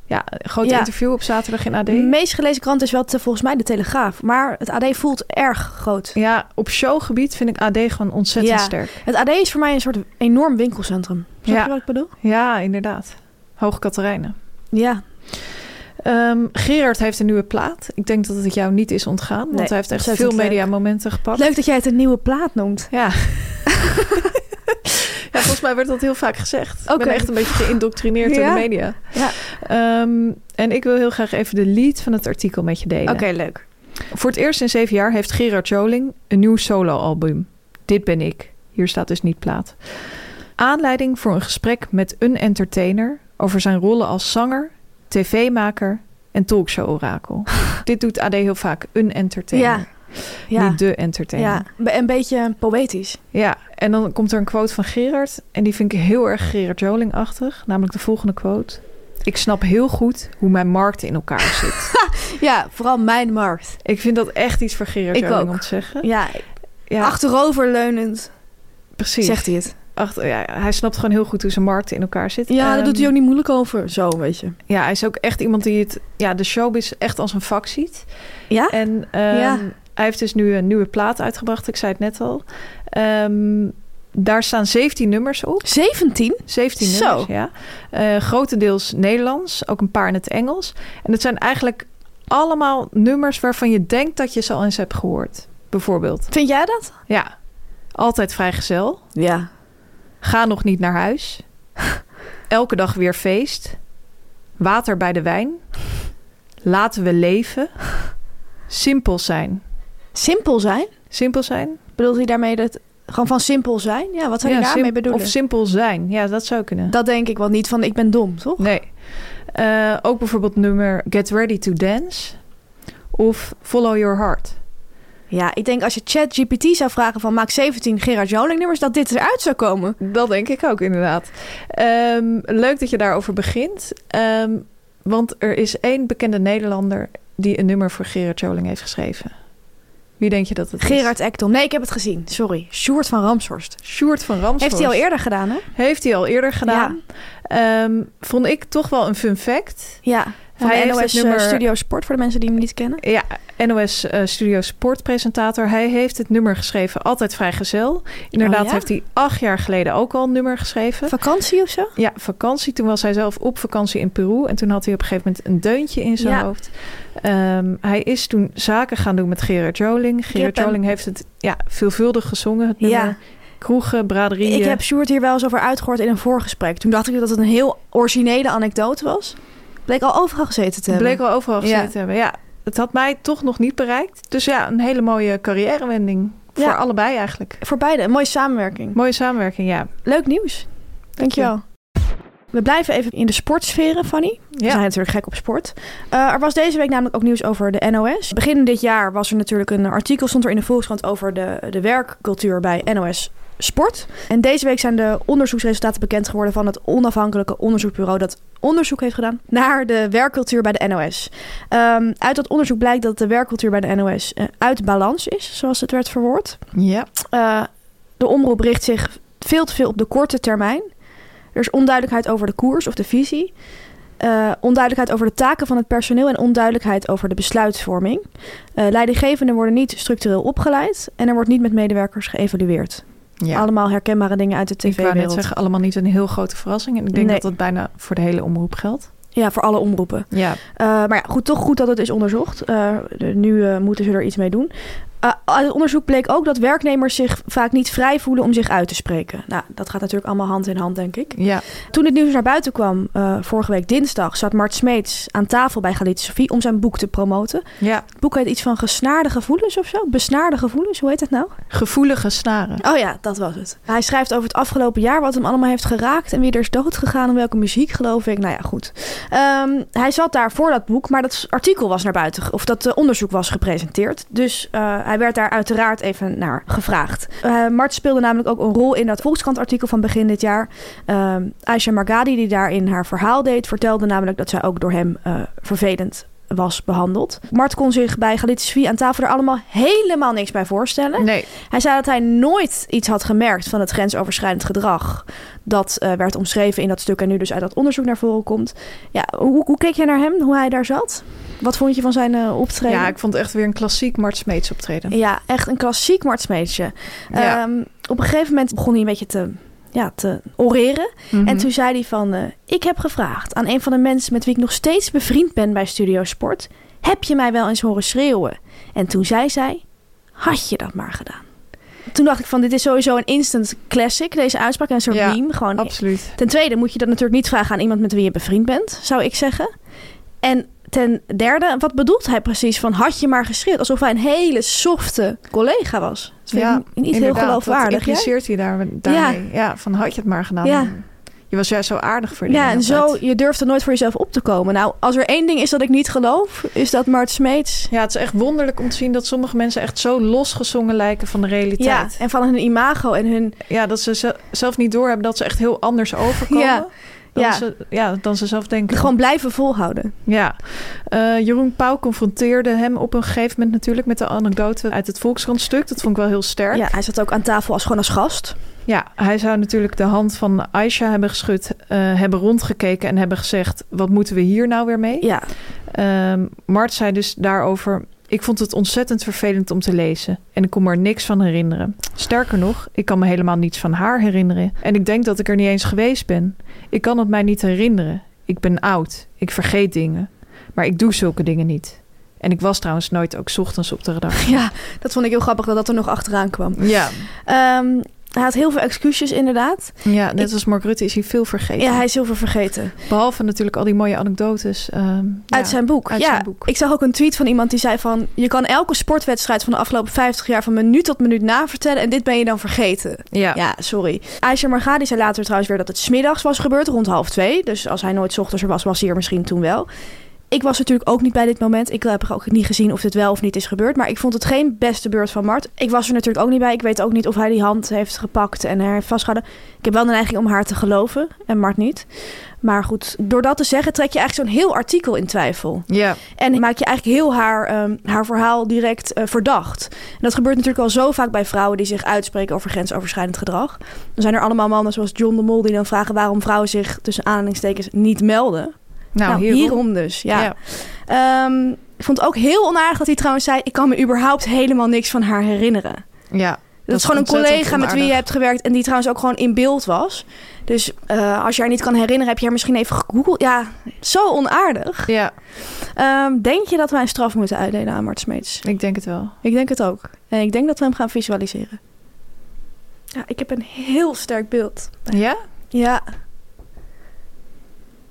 Ja, een groot Ja. interview op zaterdag in AD. De meest gelezen krant is wel te, volgens mij de Telegraaf. Maar het AD voelt erg groot. Ja, op showgebied vind ik AD gewoon ontzettend Ja. sterk. Het AD is voor mij een soort enorm winkelcentrum. Snap Ja. je wat ik bedoel? Ja, inderdaad. Hoog Katerijnen. Ja. Ehm, Gerard heeft een nieuwe plaat. Ik denk dat het jou niet is ontgaan, want Nee, hij heeft echt veel ontzettend leuk. mediamomenten gepakt. Leuk dat jij het een nieuwe plaat noemt. Ja. ja, volgens mij werd dat heel vaak gezegd. Ik ben Oké. echt een beetje geïndoctrineerd door Ja? de media. Ja. Ehm, en ik wil heel graag even de lead van het artikel met je delen. leuk. Voor het eerst in zeven jaar heeft Gerard Joling een nieuw soloalbum. Dit ben ik. Hier staat dus niet plaat. Aanleiding voor een gesprek met een entertainer over zijn rollen als zanger, tv-maker en talkshow-orakel. Dit doet AD heel vaak, een entertainer. Ja. Niet de entertainer. ja. Ja. Be- Een beetje poëtisch. en dan komt er een quote van Gerard. En die vind ik heel erg Gerard Joling-achtig. Namelijk de volgende quote. Ik snap heel goed hoe mijn markt in elkaar zit. Ja, vooral mijn markt. ik vind dat echt iets voor Gerard Ik Joling ook. om te zeggen. Ja, Ja, achteroverleunend precies. zegt hij het. Achter, ja, hij snapt gewoon heel goed hoe zijn markt in elkaar zit. Ja, Ehm, daar doet hij ook niet moeilijk over. Zo, weet je. Ja, hij is ook echt iemand die het, ja, de showbiz echt als een vak ziet. Ja? En ehm, Ja. hij heeft dus nu een nieuwe plaat uitgebracht. Ik zei het net al. Ehm, daar staan 17 nummers op. 17? 17 Zo. nummers, ja. Eh, grotendeels Nederlands, ook een paar in het Engels. En het zijn eigenlijk allemaal nummers waarvan je denkt dat je ze al eens hebt gehoord. Bijvoorbeeld, Vind jij dat? ja, Altijd Vrijgezel, Ja. Ga nog niet naar huis, Elke dag weer feest, Water bij de wijn, Laten we leven, Simpel zijn. Simpel zijn? Simpel zijn? Bedoelt hij daarmee dat... Gewoon van simpel zijn? Ja, wat zou je Ja, daarmee sim- bedoelen? Of simpel zijn, ja, dat zou kunnen. dat denk ik wel niet van ik ben dom, toch? Nee. Eh, ook bijvoorbeeld nummer Get Ready to Dance of Follow Your Heart. Ja, ik denk als je ChatGPT zou vragen van maak 17 Gerard Joling nummers, dat dit eruit zou komen. Dat denk ik ook inderdaad. Ehm, leuk dat je daarover begint. Ehm, want er is één bekende Nederlander die een nummer voor Gerard Joling heeft geschreven. Wie denk je dat het is? Gerard Ekdom. Nee, ik heb het gezien. Sorry. Sjoerd van Ramshorst. Sjoerd van Ramshorst. Heeft hij al eerder gedaan, hè? Heeft hij al eerder gedaan. Ehm, vond ik toch wel een fun fact. Ja. Van Hij de heeft NOS het nummer- eh, Studio Sport, voor de mensen die hem niet kennen. Ja, NOS eh, Studio Sport presentator. Hij heeft het nummer geschreven, altijd vrijgezel. Inderdaad Oh ja? heeft hij acht jaar geleden ook al een nummer geschreven. Vakantie of zo? ja, vakantie. Toen was hij zelf op vakantie in Peru. En toen had hij op een gegeven moment een deuntje in zijn Ja. hoofd. Ehm, hij is toen zaken gaan doen met Gerard Joling. Gerard heb hem. Joling heeft het ja, veelvuldig gezongen. Het Ja. nummer. Kroegen, eh, braderieën. Ik heb Sjoerd hier wel eens over uitgehoord in een voorgesprek. Toen dacht ik dat het een heel originele anekdote was. Bleek al overal gezeten te het hebben. bleek al overal gezeten Ja. te hebben. Ja, het had mij toch nog niet bereikt. Dus ja, een hele mooie carrièrewending. Ja. Voor allebei eigenlijk. Voor beide, een mooie samenwerking. Mooie samenwerking, ja. Leuk nieuws. Dankjewel. We blijven even in de sportsferen, Fanny. We zijn Ja, natuurlijk gek op sport. Eh, er was deze week namelijk ook nieuws over de NOS. Begin dit jaar was er natuurlijk een artikel, stond er in de Volkskrant over de, de werkcultuur bij NOS Sport. En deze week zijn de onderzoeksresultaten bekend geworden van het onafhankelijke onderzoeksbureau dat onderzoek heeft gedaan naar de werkcultuur bij de NOS. Ehm, uit dat onderzoek blijkt dat de werkcultuur bij de NOS eh, uit balans is, zoals het werd verwoord. ja. Eh, de omroep richt zich veel te veel op de korte termijn. Er is onduidelijkheid over de koers of de visie. Eh, onduidelijkheid over de taken van het personeel en onduidelijkheid over de besluitvorming. Eh, leidinggevenden worden niet structureel opgeleid en er wordt niet met medewerkers geëvalueerd. ja. Allemaal herkenbare dingen uit de Ik wou net tv-wereld. zeggen, allemaal niet een heel grote verrassing. En ik denk Nee. dat dat bijna voor de hele omroep geldt. Ja, voor alle omroepen. Ja, Eh, maar ja, goed, toch goed dat het is onderzocht. Eh, de- nu eh, moeten ze er iets mee doen. Eh, uit het onderzoek bleek ook dat werknemers zich vaak niet vrij voelen om zich uit te spreken. Nou, dat gaat natuurlijk allemaal hand in hand, denk ik. ja. Toen dit nieuws naar buiten kwam, eh, vorige week dinsdag, zat Mart Smeets aan tafel bij Galit Sofie om zijn boek te promoten. ja. Het boek heet iets van gesnaarde gevoelens of zo. Besnaarde gevoelens, hoe heet dat nou? Gevoelige snaren. Oh ja, dat was het. Hij schrijft over het afgelopen jaar wat hem allemaal heeft geraakt en wie er is dood gegaan en welke muziek, geloof ik. Nou ja, goed. Ehm, hij zat daar voor dat boek, maar dat artikel was naar buiten, ge- of dat eh, onderzoek was gepresenteerd. Dus eh, hij werd daar uiteraard even naar gevraagd. Eh, Mart speelde namelijk ook een rol in dat Volkskrant-artikel van begin dit jaar. Ehm Aisha Margadi, die daarin haar verhaal deed, vertelde namelijk dat zij ook door hem eh, vervelend was behandeld. Mart kon zich bij Galit Sofie aan tafel er allemaal helemaal niks bij voorstellen. Nee, Hij zei dat hij nooit iets had gemerkt van het grensoverschrijdend gedrag. Dat eh, werd omschreven in dat stuk en nu dus uit dat onderzoek naar voren komt. Ja, hoe, hoe keek jij naar hem, hoe hij daar zat? Wat vond je van zijn eh, optreden? ja, ik vond het echt weer een klassiek Mart Smeets optreden. Ja, echt een klassiek martsmeetje. Ja. op een gegeven moment begon hij een beetje te, ja, te oreren. eh, Mhm. En toen zei hij van, eh, ik heb gevraagd aan een van de mensen met wie ik nog steeds bevriend ben bij Studio Sport. Heb je mij wel eens horen schreeuwen? En toen zei zij, had je dat maar gedaan. Toen dacht ik van, dit is sowieso een instant classic, deze uitspraak. en Een soort Ja, meme, gewoon Absoluut. Ten tweede moet je dat natuurlijk niet vragen aan iemand met wie je bevriend bent, zou ik zeggen. En ten derde, wat bedoelt hij precies van had je maar geschreeuwd? Alsof hij een hele softe collega was. Dat vind Ja, ik niet heel Inderdaad, Dat geloofwaardig. jij? impliceert hij daar, daarmee. Ja. van had je het maar gedaan. Ja. Je was juist zo aardig voor die Ja, en dingen zo, altijd. je durft er nooit voor jezelf op te komen. Nou, als er één ding is dat ik niet geloof, is dat Mart Smeets. Ja, het is echt wonderlijk om te zien dat sommige mensen echt zo losgezongen lijken van de Ja, realiteit. en van hun imago en hun... Ja, dat ze ze- zelf niet doorhebben dat ze echt heel anders overkomen. Ja. dan, Ja. ze, ja, dan ze zelf denken. Gewoon blijven volhouden. Ja, Eh, Jeroen Pauw confronteerde hem op een gegeven moment natuurlijk met de anekdote uit het Volkskrant-stuk. Dat vond ik wel heel sterk. Ja, hij zat ook aan tafel als gewoon als gast. Ja, hij zou natuurlijk de hand van Aisha hebben geschud, eh, hebben rondgekeken en hebben gezegd: wat moeten we hier nou weer mee? Ja, Ehm, Mart zei dus daarover: Ik vond het ontzettend vervelend om te lezen en ik kon me er niks van herinneren. Sterker nog, ik kan me helemaal niets van haar herinneren en ik denk dat ik er niet eens geweest ben. Ik kan het mij niet herinneren. Ik ben oud, ik vergeet dingen, maar ik doe zulke dingen niet. En ik was trouwens nooit ook 's ochtends op de radar. ja, dat vond ik heel grappig dat dat er nog achteraan kwam. Ja, Ehm, hij had heel veel excuses inderdaad. ja net Ik- als Mark Rutte is hij veel vergeten. Ja, hij is heel veel vergeten. Behalve natuurlijk al die mooie anekdotes. ehm, Uit ja. zijn boek. uit ja, zijn boek. ik zag ook een tweet van iemand die zei van... je kan elke sportwedstrijd van de afgelopen 50 jaar... van minuut tot minuut navertellen en dit ben je dan vergeten. Ja. Ja, sorry. Aisha Margadi zei later trouwens weer dat het smiddags was gebeurd, rond half twee. Dus als hij nooit 's ochtends er was, was hij er misschien toen wel. Ik was natuurlijk ook niet bij dit moment. Ik heb ook niet gezien of dit wel of niet is gebeurd. Maar ik vond het geen beste beurt van Mart. Ik was er natuurlijk ook niet bij. Ik weet ook niet of hij die hand heeft gepakt en haar heeft vastgehouden. Ik heb wel de neiging om haar te geloven en Mart niet. Maar goed, door dat te zeggen trek je eigenlijk zo'n heel artikel in twijfel. Ja. En maak je eigenlijk heel haar, ehm, haar verhaal direct eh, verdacht. En dat gebeurt natuurlijk al zo vaak bij vrouwen die zich uitspreken over grensoverschrijdend gedrag. Dan zijn er allemaal mannen zoals John de Mol die dan vragen waarom vrouwen zich tussen aanhalingstekens niet melden. Nou, Nou, hierom. dus. Ja. Ja. Ehm, ik vond het ook heel onaardig dat hij trouwens zei: Ik kan me überhaupt helemaal niks van haar herinneren. Dat, Ja. Dat, is gewoon een ontzettend collega met wie je onaardig. hebt gewerkt en die trouwens ook gewoon in beeld was. Dus eh, als je haar niet kan herinneren, heb je haar misschien even gegoogeld. Ja, zo onaardig. Ja, Ehm, denk je dat wij een straf moeten uitdelen aan Mart Smeets? ik denk het wel. Ik denk het ook. En ik denk dat we hem gaan visualiseren. Ja, ik heb een heel sterk beeld. Ja? Ja.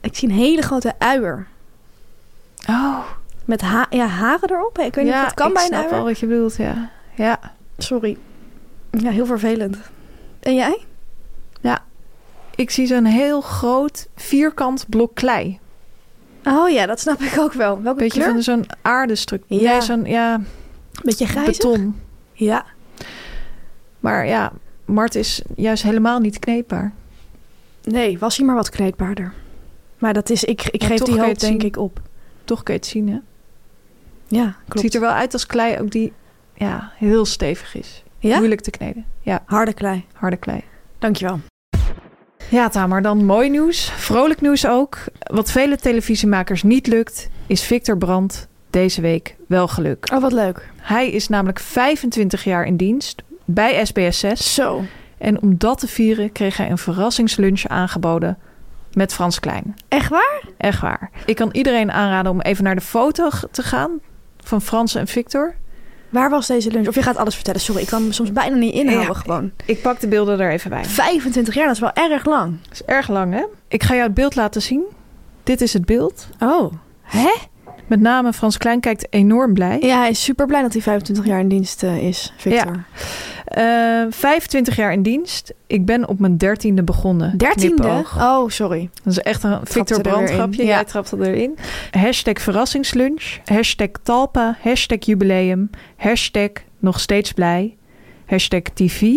Ik zie een hele grote uier. Oh, Met ha ja, haren erop. Ik weet niet ja, of het kan ik bij een snap uier. wel wat je bedoelt, ja. Ja, Sorry. Ja, heel vervelend. En jij? ik zie zo'n heel groot vierkant blok klei. Oh ja, dat snap ik ook wel. Welke Beetje kleur? van zo'n aardestructuur. Ja. Nee, zo'n ja, Beetje grijs. beton. Ja. Maar ja, Mart is juist helemaal niet kneepbaar. Nee, was hij maar wat kneedbaarder. Maar dat is, ik, ik Maar geef toch die kun je hoop het denk zien. ik op. Toch kun je het zien, hè? Ja, Het klopt. ziet er wel uit als klei, ook die ja, heel stevig is. Ja? Moeilijk te kneden. Ja, Harde klei. harde klei. Dankjewel. Ja, Tamer, dan mooi nieuws. Vrolijk nieuws ook. Wat vele televisiemakers niet lukt, is Victor Brandt deze week wel gelukt. Oh, wat leuk. Hij is namelijk 25 jaar in dienst bij SBS6. Zo. En om dat te vieren kreeg hij een verrassingslunch aangeboden met Frans Klein. Echt waar? Echt waar. Ik kan iedereen aanraden om even naar de foto g- te gaan van Frans en Victor. Waar was deze lunch? Of je gaat alles vertellen. Sorry, ik kan me soms bijna niet inhouden Ja. gewoon. Ik pak de beelden er even bij. 25 jaar, dat is wel erg lang. Dat is erg lang, hè? Ik ga jou het beeld laten zien. Dit is het beeld. Oh. Hè? Met name Frans Klein kijkt enorm blij. Ja, hij is super blij dat hij 25 jaar in dienst eh, is, Victor. Eh, 25 jaar in dienst. Ik ben op mijn dertiende begonnen. Dertiende? Knipoog. Oh, sorry. Dat is echt een Victor er weer Brandt grapje. in. Ja. Jij trapt er erin. Hashtag verrassingslunch. Hashtag talpa. Hashtag jubileum. Hashtag nog steeds blij. Hashtag tv.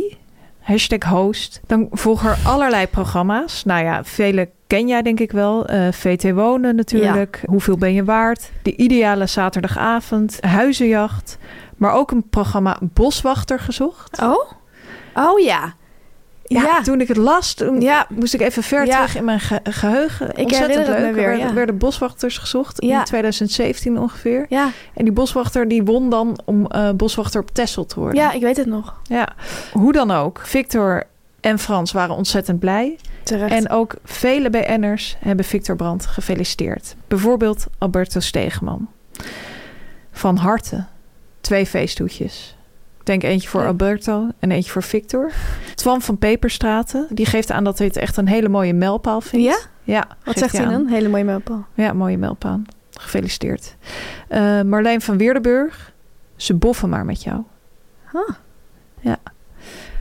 Hashtag host. Dan volgen er allerlei programma's. Nou ja, vele ken jij denk ik wel. Eh, VT Wonen natuurlijk. Hoeveel ben je waard? De ideale zaterdagavond. Huizenjacht. Maar ook een programma Boswachter gezocht. Oh? Oh ja. Ja, Ja, toen ik het las, toen Ja. moest ik even ver Ja. terug in mijn ge- geheugen. Ontzettend herinner het leuk. me weer, er werden- ja. werden boswachters gezocht Ja. in 2017 ongeveer. ja. En die boswachter die won dan om eh, boswachter op Texel te worden. ja, ik weet het nog. Ja. Hoe dan ook, Victor en Frans waren ontzettend blij. Terecht. En ook vele BN'ers hebben Victor Brandt gefeliciteerd. Bijvoorbeeld Alberto Stegeman. Van harte twee feesthoedjes. Ik denk eentje voor Ja. Alberto en eentje voor Victor. Twan van Peperstraten, die geeft aan dat hij het echt een hele mooie mijlpaal vindt. Ja? Ja. Wat geeft zegt hij aan. dan? Hele mooie mijlpaal. Ja, mooie mijlpaal. Gefeliciteerd. Eh, Marleen van Weerdenburg, ze boffen maar met jou. Huh. Ja.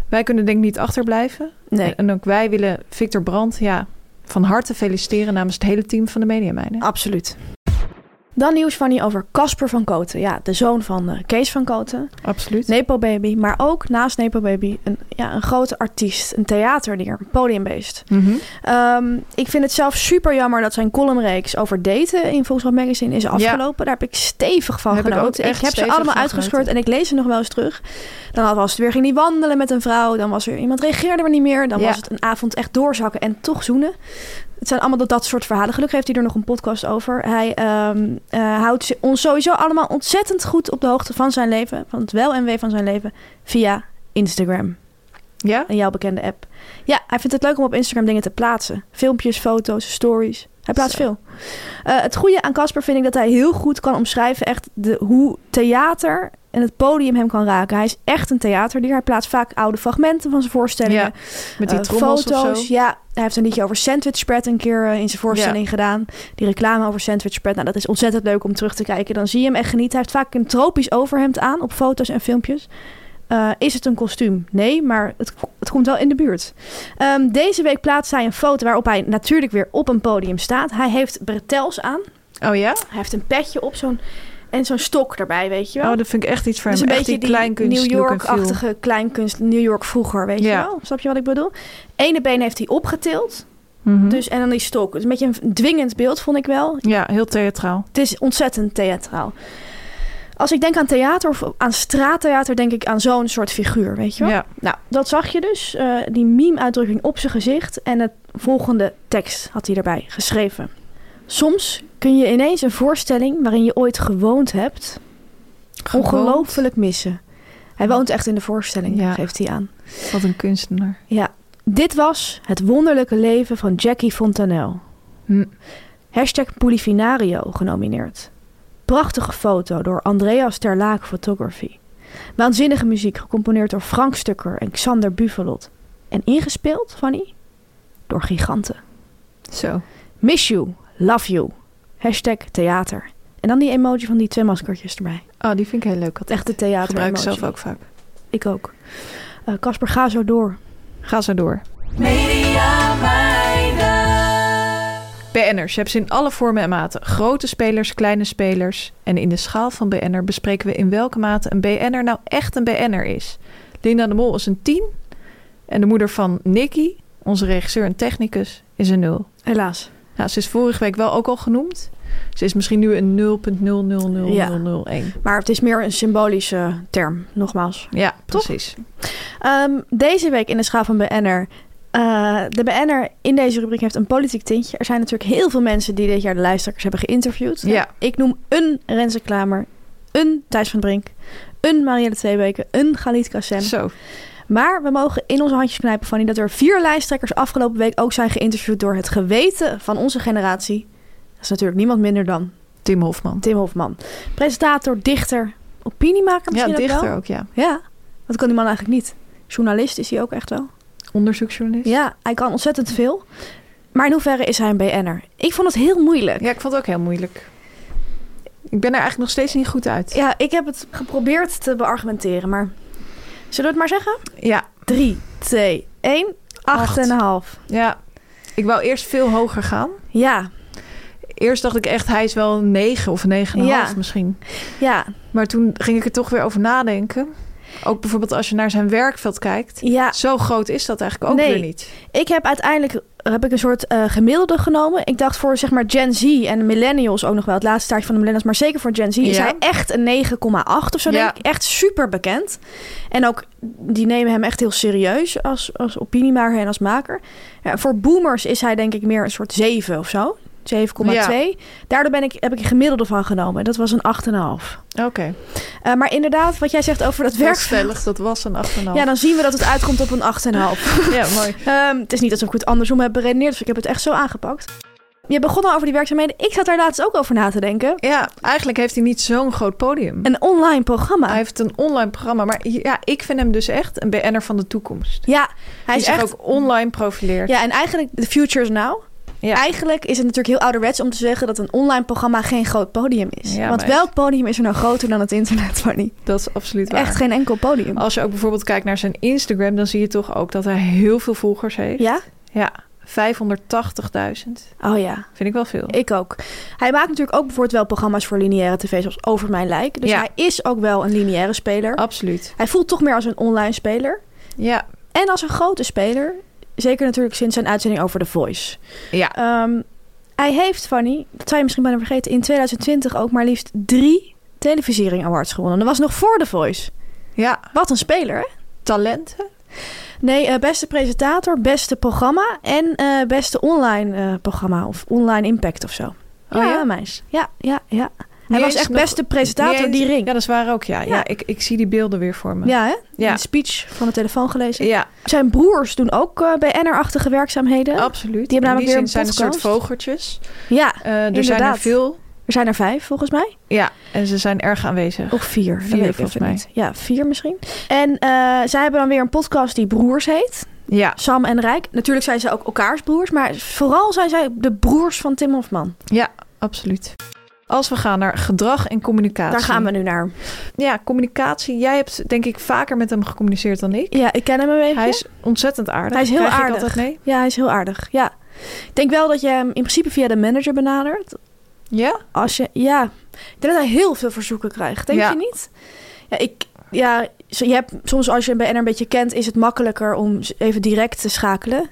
Wij kunnen denk ik niet achterblijven. Nee. En, en ook wij willen Victor Brandt ja, van harte feliciteren namens het hele team van de Media Meiden. Absoluut. Dan nieuws van hier over Casper van Koten. Ja, de zoon van eh, Kees van Koten. Absoluut. Nepo Baby, maar ook naast Nepo Baby een ja, een grote artiest, een theaterdier, een podiumbeest. Mhm. Ehm, ik vind het zelf super jammer dat zijn columnreeks over daten in Volkswagen Magazine is afgelopen. Daar heb ik stevig van Heb ik ook genoten. Ik, echt heb ze stevig allemaal van uitgescheurd genoten. en ik lees ze nog wel eens terug. Dan was het weer ging die wandelen met een vrouw. Dan was er iemand reageerde maar niet meer. Dan Ja. was het een avond echt doorzakken en toch zoenen. Het zijn allemaal dat, dat soort verhalen. Gelukkig heeft hij er nog een podcast over. Hij ehm, eh, houdt ze- ons sowieso allemaal ontzettend goed op de hoogte van zijn leven. Van het wel en wee van zijn leven. Via Instagram Ja? een jouw bekende app. Ja, hij vindt het leuk om op Instagram dingen te plaatsen. Filmpjes, foto's, stories. Hij plaatst Zo. veel. Eh, het goede aan Casper vind ik dat hij heel goed kan omschrijven echt de, hoe theater en het podium hem kan raken. Hij is echt een theaterdier. Hij plaatst vaak oude fragmenten van zijn voorstellingen. Ja, met die eh, trommels of foto's. zo. Ja, hij heeft een liedje over sandwich spread een keer eh, in zijn voorstelling gedaan. Die reclame over sandwich spread. Nou, dat is ontzettend leuk om terug te kijken. Dan zie je hem echt genieten. Hij heeft vaak een tropisch overhemd aan op foto's en filmpjes. Eh, is het een kostuum? Nee, maar het, het komt wel in de buurt. Ehm, deze week plaatst hij een foto waarop hij natuurlijk weer op een podium staat. Hij heeft bretels aan. Oh ja? Hij heeft een petje op zo'n, en zo'n stok erbij, weet je wel. Oh, dat vind ik echt iets voor Dus hem. een echt beetje die die kleinkunst New look en feel. York-achtige kleinkunst, New York vroeger, weet je Ja. wel? Snap je wat ik bedoel? Ene been heeft hij opgetild, Mhm. dus, en dan die stok. Dus een beetje een dwingend beeld, vond ik wel. Ja, heel theatraal. Het is ontzettend theatraal. Als ik denk aan theater of aan straattheater, denk ik aan zo'n soort figuur, weet je wel? Ja. Nou, dat zag je dus, eh, die meme-uitdrukking op zijn gezicht. En het volgende tekst had hij erbij geschreven. Soms kun je ineens een voorstelling waarin je ooit gewoond hebt, Ongelooflijk missen. Hij woont echt in de voorstelling, Ja. geeft hij aan. Wat een kunstenaar. Ja. Dit was het wonderlijke leven van Jackie Fontanel. Hm. Hashtag Polifinario genomineerd. Prachtige foto door Andreas Terlaak Photography. Waanzinnige muziek gecomponeerd door Frank Stukker en Xander Buvelot. En ingespeeld, Fanny, door giganten. Zo. Miss you, love you. Hashtag theater. En dan die emoji van die twee maskertjes erbij. Oh, die vind ik heel leuk. Dat Echt de theater gebruik ik zelf emoji. ook vaak. Ik ook. Eh, Casper, ga zo door. Ga zo door. Media meiden. BN'ers. Je hebt ze in alle vormen en maten. Grote spelers, kleine spelers. En in de schaal van BN'er bespreken we in welke mate een BN'er nou echt een BN'er is. Linda de Mol is een 10. En de moeder van Nicky, onze regisseur en technicus, is een 0. Helaas. Nou, ze is vorige week wel ook al genoemd. Ze is misschien nu een 0.000001. Ja, Maar het is meer een symbolische eh, term, nogmaals. Toch? precies. Ehm, deze week in de schaal van BN'er. eh, de BN'er in deze rubriek heeft een politiek tintje. Er zijn natuurlijk heel veel mensen die dit jaar de lijsttrekkers hebben geïnterviewd. Ja. Ik noem een Renze Klamer, een Thijs van Brink, een Marielle Tweebeke, een Galit Kassem. Zo. Maar we mogen in onze handjes knijpen, Fanny, dat er vier lijsttrekkers afgelopen week ook zijn geïnterviewd door het geweten van onze generatie. Dat is natuurlijk niemand minder dan Tim Hofman. Tim Hofman. Presentator, dichter, opiniemaker Ja, misschien ook dichter wel. ook, ja. Ja, dat kan die man eigenlijk niet. Journalist is hij ook echt wel. Onderzoeksjournalist. Ja, hij kan ontzettend veel. Maar in hoeverre is hij een BN'er? Ik vond het heel moeilijk. Ja, ik vond het ook heel moeilijk. Ik ben er eigenlijk nog steeds niet goed uit. Ja, ik heb het geprobeerd te beargumenteren, maar... Zullen we het maar zeggen? Ja, 3, 2, 1, Acht. 8,5. ja. Ik wou eerst veel hoger gaan. Ja, Eerst dacht ik echt, hij is wel een 9 of 9,5 Ja. misschien. ja, Maar toen ging ik er toch weer over nadenken. Ook bijvoorbeeld als je naar zijn werkveld kijkt. ja. Zo groot is dat eigenlijk ook Nee. weer niet. Ik heb uiteindelijk heb ik een soort eh, gemiddelde genomen. Ik dacht voor zeg maar Gen Z en millennials ook nog wel. Het laatste staartje van de millennials. Maar zeker voor Gen Z is Ja. hij echt een 9,8 of zo. Ja. Denk ik. Echt super bekend. En ook die nemen hem echt heel serieus als, als opiniemaker en als maker. Ja, voor boomers is hij denk ik meer een soort 7 of zo. 7,2. Daardoor ben ik, heb ik een gemiddelde van genomen. Dat was een 8,5. Oké. Eh, maar inderdaad, wat jij zegt over dat Heel werk. stellig, dat was een 8,5. Ja, dan zien we dat het uitkomt op een 8,5. ja, mooi. Ehm, het is niet alsof ik het andersom heb beredeneerd, dus ik heb het echt zo aangepakt. Je begon al over die werkzaamheden. Ik zat daar laatst ook over na te denken. Ja, eigenlijk heeft hij niet zo'n groot podium. Een online programma. Hij heeft een online programma. Maar ja, ik vind hem dus echt een BN'er van de toekomst. ja, hij Hij is is zich echt... ook online profileert. Ja, en eigenlijk, the future is now. Ja. Eigenlijk is het natuurlijk heel ouderwets om te zeggen dat een online programma geen groot podium is. Ja, Want maar- welk podium is er nou groter dan het internet, Fanny? Dat is absoluut waar. Oh, Echt geen enkel podium. Als je ook bijvoorbeeld kijkt naar zijn Instagram, dan zie je toch ook dat hij heel veel volgers heeft. Ja? Ja, 580.000. Oh ja. Vind ik wel veel. Ik ook. Hij maakt natuurlijk ook bijvoorbeeld wel programma's voor lineaire tv, zoals Over Mijn Lijk. Dus Ja. Oh. hij is ook wel een lineaire speler. Absoluut. Hij voelt toch meer als een online speler. Ja, En als een grote speler, zeker natuurlijk sinds zijn uitzending over The Voice. Ja. Ehm, hij heeft, Fanny, dat zou je misschien bijna vergeten, in 2020 ook maar liefst drie televisiering awards gewonnen. Dat was nog voor The Voice. ja. Wat een speler, hè? Talenten? Nee, eh, beste presentator, beste programma en eh, beste online eh, programma of online impact of zo. Oh ja? meis. Ja, ja, ja. Hij Niet was eens echt nog- beste presentator, Nee, die ring. Ja, Ja, dat is waar ook, ja. Ja, Ja. ik, ik zie die beelden weer voor me. hè? Ja. Die speech van de telefoon gelezen. Ja, Zijn broers doen ook eh BN'er-achtige werkzaamheden. Oh. absoluut. Die hebben namelijk In weer die een zin zijn een soort podcast. vogeltjes. Ja, Eh, er zijn er Inderdaad. veel. er zijn er vijf volgens mij. Ja, en ze zijn erg aanwezig. Of vier, Vier, dat weet ik volgens even mij. niet. Ja, vier misschien. En eh, zij hebben dan weer een podcast die Broers heet. Ja, Sam en Rijk. Natuurlijk zijn ze ook elkaars broers. Maar vooral zijn zij de broers van Tim Hofman. ja, absoluut. Als we gaan naar gedrag en communicatie. Daar gaan we nu naar. Ja, communicatie. Jij hebt denk ik vaker met hem gecommuniceerd dan ik. Ja, ik ken hem een beetje. Hij is ontzettend aardig. Hij is heel Krijg ik aardig. altijd mee? Ja, hij is heel aardig. Ja. Ik denk wel dat je hem in principe via de manager benadert. Ja? Als je, ja. Ik denk dat hij heel veel verzoeken krijgt. Denk Ja. je niet? Ja, ik, ja, zo- je hebt, soms als je een BN'er een beetje kent, is het makkelijker om z- even direct te schakelen.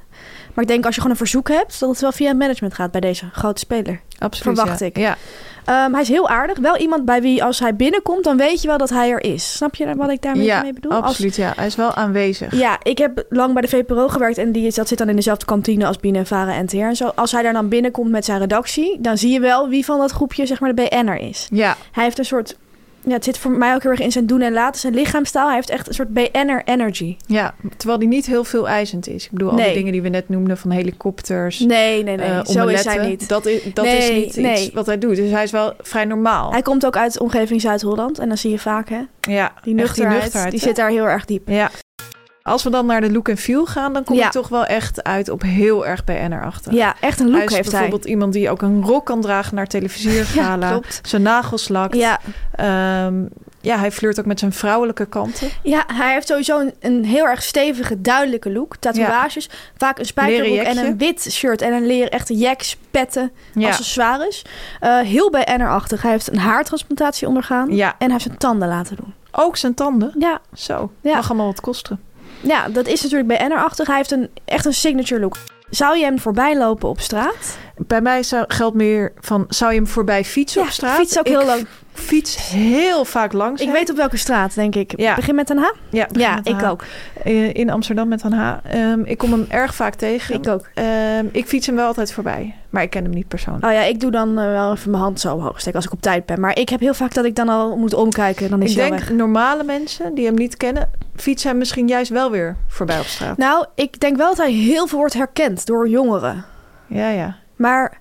Maar ik denk als je gewoon een verzoek hebt, dat het wel via het management gaat bij deze grote speler. Absoluut. Verwacht ja. ik. Ja. Ehm, hij is heel aardig. Wel iemand bij wie als hij binnenkomt, dan weet je wel dat hij er is. Snap je wat ik daarmee ja, mee bedoel? Als- absoluut. Ja, hij is wel aanwezig. Ja, ik heb lang bij de VPRO gewerkt en die, dat zit dan in dezelfde kantine als Bienen en Varen en NTR en zo. Als hij daar dan binnenkomt met zijn redactie, dan zie je wel wie van dat groepje zeg maar de BN'er is. Ja, Hij heeft een soort, ja, het zit voor mij ook heel erg in zijn doen en laten, zijn lichaamstaal. Hij heeft echt een soort BN'er energy. ja, terwijl die niet heel veel eisend is. Ik bedoel, al die Nee. dingen die we net noemden van helikopters, Nee, nee, nee, eh, zo is hij omeletten, niet. Dat is, dat Nee, is niet nee. iets wat hij doet. Dus hij is wel vrij normaal. Hij komt ook uit de omgeving Zuid-Holland en dan zie je vaak hè, ja, die echt nuchterheid, die, nuchterheid, hè? zit daar heel erg diep. Ja. Als we dan naar de look en feel gaan, dan kom Ja. je toch wel echt uit op heel erg BN'er-achtig. Ja, echt een hij look is heeft hij. bijvoorbeeld iemand die ook een rok kan dragen naar televisiergala. Ja, klopt. zijn nagels lakt. Ja, Ehm, ja, hij flirt ook met zijn vrouwelijke kanten. Ja, hij heeft sowieso een, een heel erg stevige, duidelijke look. Tatoeages, vaak een spijkerbroek Leren en jekje. een wit shirt en een leer echte jacks, petten, Ja. accessoires. Eh, heel BN'er-achtig. Hij heeft een haartransplantatie ondergaan Ja. en hij heeft zijn tanden laten doen. Ook zijn tanden. Ja, Zo, Ja. mag allemaal wat kosten. ja dat is natuurlijk BN'er-achtig. Hij heeft een, echt een signature look. Zou je hem voorbij lopen op straat? Bij mij zou, geldt meer van, zou je hem voorbij fietsen op straat? fiets ook Ik heel lang. fiets heel vaak langs Ik hem. weet op welke straat, denk ik. Ja. Begin met een H? ja, begin Ja, met ik een H. ook. Eh, In Amsterdam met een H. Ehm, ik kom hem erg vaak tegen. Ik ook. Ehm, ik fiets hem wel altijd voorbij. Maar ik ken hem niet persoonlijk. Oh ja, ik doe dan eh, wel even mijn hand zo omhoog steken als ik op tijd ben. Maar ik heb heel vaak dat ik dan al moet omkijken. Dan is ik hij al denk weg. normale mensen die hem niet kennen... fietsen hem misschien juist wel weer voorbij op straat. Nou, ik denk wel dat hij heel veel wordt herkend door jongeren. Ja, ja. Maar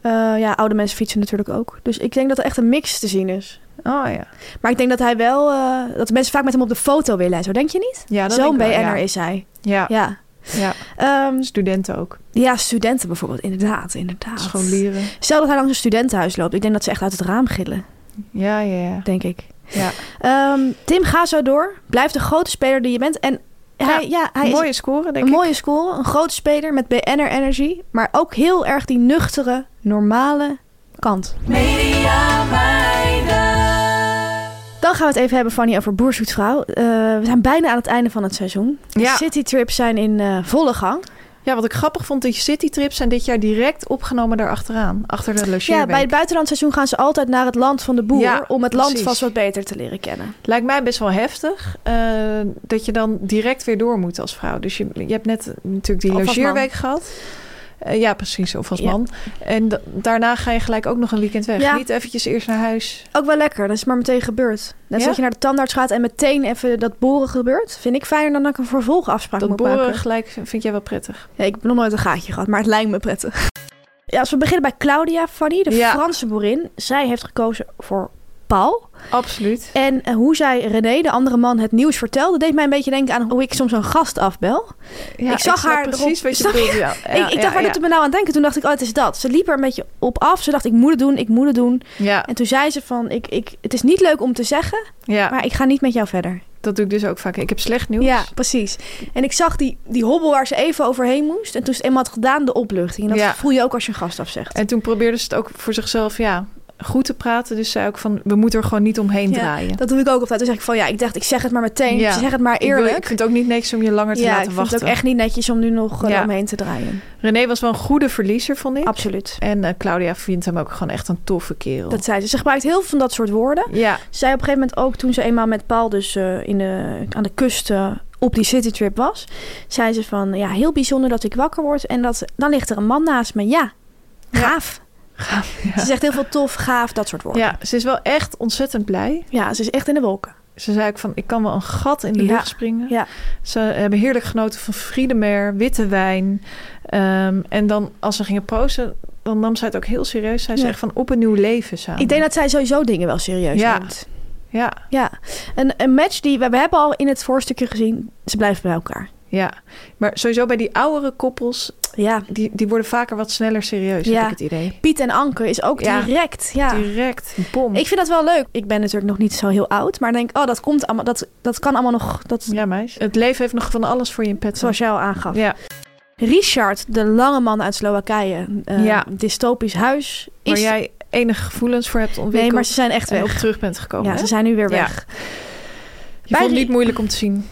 eh, ja, oude mensen fietsen natuurlijk ook. Dus ik denk dat er echt een mix te zien is. Oh ja. Maar ik denk dat hij wel... eh, dat mensen vaak met hem op de foto willen en zo. Denk je niet? ja dat Zo'n denk ik wel, BN'er ja. is hij. Ja, ja. Ja. Ehm, studenten ook. ja, studenten bijvoorbeeld. Inderdaad, inderdaad. Scholieren. Stel dat hij langs een studentenhuis loopt. Ik denk dat ze echt uit het raam gillen, Ja, ja, ja. denk ik. ja. Ehm, Tim, ga zo door. Blijf de grote speler die je bent. En hij, ja, hij is mooie score, denk een ik. mooie score, een grote speler met BN'er energy, maar ook heel erg die nuchtere, normale kant. Media meiden. Dan gaan we het even hebben, Fanny, over Boer Zoekt Vrouw. Eh, we zijn bijna aan het einde van het seizoen. Ja. De citytrips zijn in eh, volle gang. Ja, wat ik grappig vond, die citytrips zijn dit jaar direct opgenomen daarachteraan. Achter de Ja, logeerweek. bij het buitenlandseizoen gaan ze altijd naar het land van de boer... Ja, om het land precies. vast wat beter te leren kennen. Lijkt mij best wel heftig eh, dat je dan direct weer door moet als vrouw. Dus je, je hebt net natuurlijk die Of als man. logeerweek gehad. Eh, ja, precies. Of als Ja. man. En da- daarna ga je gelijk ook nog een weekend weg. Ja. Niet eventjes eerst naar huis. Ook wel lekker, dat is maar meteen gebeurd. Net Ja? als dat je naar de tandarts gaat en meteen even dat boren gebeurt... vind ik fijner dan dat ik een vervolgafspraak Dat moet boren maken. gelijk vind jij wel prettig. Ja, ik heb nog nooit een gaatje gehad, maar het lijkt me prettig. Ja, als we beginnen bij Claudia Fanny, de Ja. Franse boerin. Zij heeft gekozen voor Paul. Absoluut. En eh, hoe zij René, de andere man, het nieuws vertelde... deed mij een beetje denken aan hoe ik soms een gast afbel. Ja, Ik zag snap haar erop- precies wat je Snap je? bedoelt. Ja. Ja, ik ik ja, dacht, waar ja. doet het me nou aan denken? Toen dacht ik, oh, het is dat. Ze liep er een beetje op af. Ze dacht, ik moet het doen, ik moet het doen. Ja, En toen zei ze van, ik, ik, het is niet leuk om te zeggen... ja. maar ik ga niet met jou verder. dat doe ik dus ook vaak. Ik heb slecht nieuws. Ja, precies. En ik zag die, die hobbel waar ze even overheen moest. En toen ze het eenmaal had gedaan, de opluchting. En dat Ja. voel je ook als je een gast afzegt. En toen probeerde ze het ook voor zichzelf, ja, goed te praten. Dus zei ook van, we moeten er gewoon niet omheen draaien. Dat doe ik ook altijd. Dan zeg ik van ja, ik dacht, ik zeg het maar meteen. Ja. Ik zeg het maar Ik wil- eerlijk. Ik vind het ook niet niks om je langer te ja, ik laten vind wachten. het ook echt niet netjes om nu nog eh, Ja. omheen te draaien. René was wel een goede verliezer, vond ik. Absoluut. En eh, Claudia vindt hem ook gewoon echt een toffe kerel. Dat zei ze. Ze gebruikt heel veel van dat soort woorden. Ja, Ze zei op een gegeven moment ook toen ze eenmaal met Paul dus eh, in de, aan de kust eh, op die citytrip was. Zei ze van ja, heel bijzonder dat ik wakker word en dat, dan ligt er een man naast me. Ja, gaaf. gaaf. Ze Ja. zegt heel veel tof, gaaf, dat soort woorden. ja, ze is wel echt ontzettend blij. Ja, ze is echt in de wolken. Ze zei ook van, ik kan wel een gat in de Ja, lucht springen. ja. Ze hebben heerlijk genoten van Friedemer, witte wijn. Ehm, en dan als ze gingen posen, dan nam zij het ook heel serieus. Zij Ja. zei echt van, op een nieuw leven samen. Ik denk dat zij sowieso dingen wel serieus Ja. neemt. Ja, Ja, een, een match die we, we hebben al in het voorstukje gezien. Ze blijven bij elkaar. ja. Maar sowieso bij die oudere koppels, Ja. die, die worden vaker wat sneller serieus, Ja. heb ik het idee. Piet en Anke is ook Ja. direct. Ja. Direct, bom. Ik vind dat wel leuk. Ik ben natuurlijk nog niet zo heel oud, maar denk, oh, dat komt allemaal, dat, dat kan allemaal nog, dat, Ja, meis. Het leven heeft nog van alles voor je in pet. zoals jij al aangaf. Ja, Richard, de lange man uit Slowakije, eh, Ja. dystopisch huis. waar Is... jij enige gevoelens voor hebt ontwikkeld. nee, maar ze zijn echt en op weg. terug bent gekomen. Ja, hè? ze zijn nu weer Ja. weg. Je vond het Bij- niet moeilijk om te zien.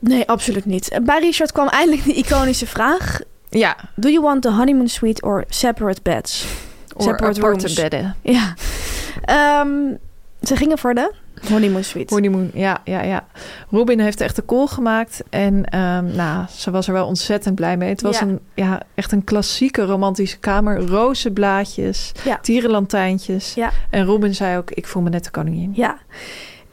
Nee, absoluut niet. Eh, Bij Richard kwam eindelijk de iconische vraag: Ja, Do you want the honeymoon suite or separate beds? Separate rooms. bedden. Ja. Ehm, ze gingen voor de honeymoon suite. Honeymoon, ja, ja, ja. Robin heeft echt de call gemaakt. En ehm, nou, ze was er wel ontzettend blij mee. Het was Ja. Een, ja, echt een klassieke romantische kamer. Rozenblaadjes, Ja. tierenlantijntjes. Ja. En Robin zei ook, ik voel me net de koningin. Ja.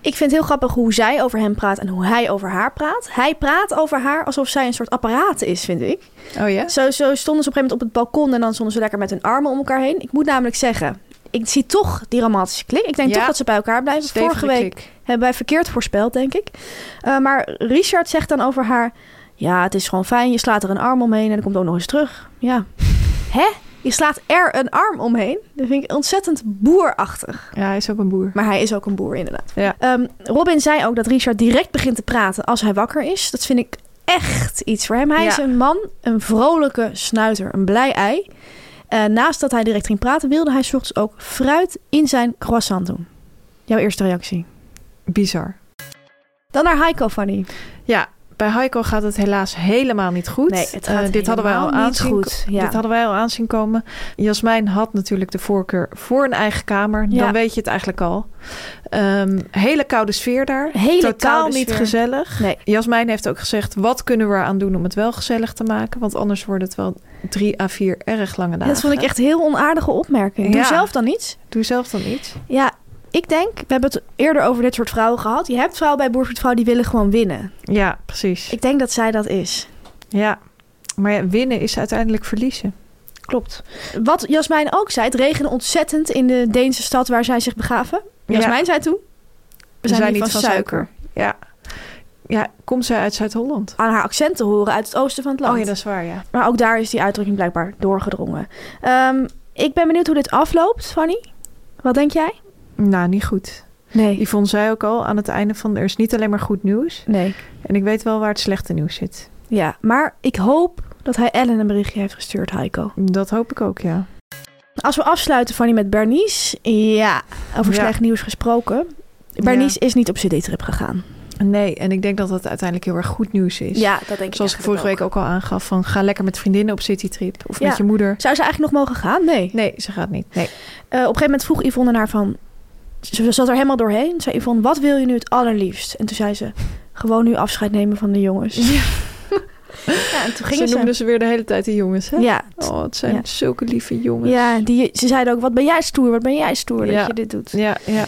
Ik vind het heel grappig hoe zij over hem praat en hoe hij over haar praat. Hij praat over haar alsof zij een soort apparaat is, vind ik. Oh ja? Zo, zo stonden ze op een gegeven moment op het balkon en dan stonden ze lekker met hun armen om elkaar heen. Ik moet namelijk zeggen, ik zie toch die romantische klik. Ik denk Ja. toch dat ze bij elkaar blijven. Stevige Vorige week klik. hebben wij verkeerd voorspeld, denk ik. Eh, maar Richard zegt dan over haar... Ja, het is gewoon fijn. Je slaat er een arm omheen en dan komt ook nog eens terug. Ja. Hè? Je slaat er een arm omheen? Dat vind ik ontzettend boerachtig. Ja, hij is ook een boer. Maar hij is ook een boer, inderdaad. Ja. Ehm, Robin zei ook dat Richard direct begint te praten als hij wakker is. Dat vind ik echt iets voor hem. Hij Ja. is een man, een vrolijke snuiter, een blij ei. Eh, naast dat hij direct ging praten, wilde hij 's ochtends ook fruit in zijn croissant doen. Jouw eerste reactie. Bizar. Dan naar Heiko Fanny. Ja, bij Heiko gaat het helaas helemaal niet goed. Nee, het gaat Eh, dit hadden wij al helemaal niet aanzien, goed, ja. Dit hadden wij al aanzien komen. Jasmijn had natuurlijk de voorkeur voor een eigen kamer. Ja. Dan weet je het eigenlijk al. Ehm, hele koude sfeer daar. Hele Totaal koude niet sfeer. gezellig. Nee. Jasmijn heeft ook gezegd: wat kunnen we eraan doen om het wel gezellig te maken? Want anders wordt het wel drie à vier erg lange dagen. Dat vond ik echt heel onaardige opmerking. Doe Ja. zelf dan iets. Doe zelf dan iets. Ja, ik denk, we hebben het eerder over dit soort vrouwen gehad. Je hebt vrouwen bij Boer Zoekt Vrouw die willen gewoon winnen. Ja, precies. Ik denk dat zij dat is. Ja. Maar ja, winnen is uiteindelijk verliezen. Klopt. Wat Jasmijn ook zei, het regende ontzettend in de Deense stad waar zij zich begaven. Jasmijn zei toen, we zijn, niet van, suiker. Ja. Ja, komt zij uit Zuid-Holland? Aan haar accent te horen uit het oosten van het land. Oh ja, dat is waar, ja. Maar ook daar is die uitdrukking blijkbaar doorgedrongen. Ehm, ik ben benieuwd hoe dit afloopt, Fanny. Wat denk jij? Nou, niet goed. Nee. Yvonne zei ook al aan het einde van... er is niet alleen maar goed nieuws. Nee. En ik weet wel waar het slechte nieuws zit. Ja, maar ik hoop dat hij Ellen een berichtje heeft gestuurd, Heiko. Dat hoop ik ook, ja. Als we afsluiten, Fanny, met Bernice. Ja, over Ja. slecht nieuws gesproken. Bernice is niet op CD-trip gegaan. Nee, en ik denk dat dat uiteindelijk heel erg goed nieuws is. dat denk Zoals ik vorige week ook al aangaf, van ga lekker met vriendinnen op citytrip. Of Ja. met je moeder. Zou ze eigenlijk nog mogen gaan? Nee. Nee, ze gaat niet. Nee. Eh, op een gegeven moment vroeg Yvonne naar van... Ze zat er helemaal doorheen. Zei Yvonne, wat wil je nu het allerliefst? En toen zei ze, gewoon nu afscheid nemen van de jongens. Ja, en toen gingen ze ze... noemden ze weer de hele tijd de jongens, hè? Ja, t- Oh, het zijn Ja. zulke lieve jongens. ja die, ze zeiden ook, wat ben jij stoer, wat ben jij stoer Ja. dat je dit doet. Ja, ja.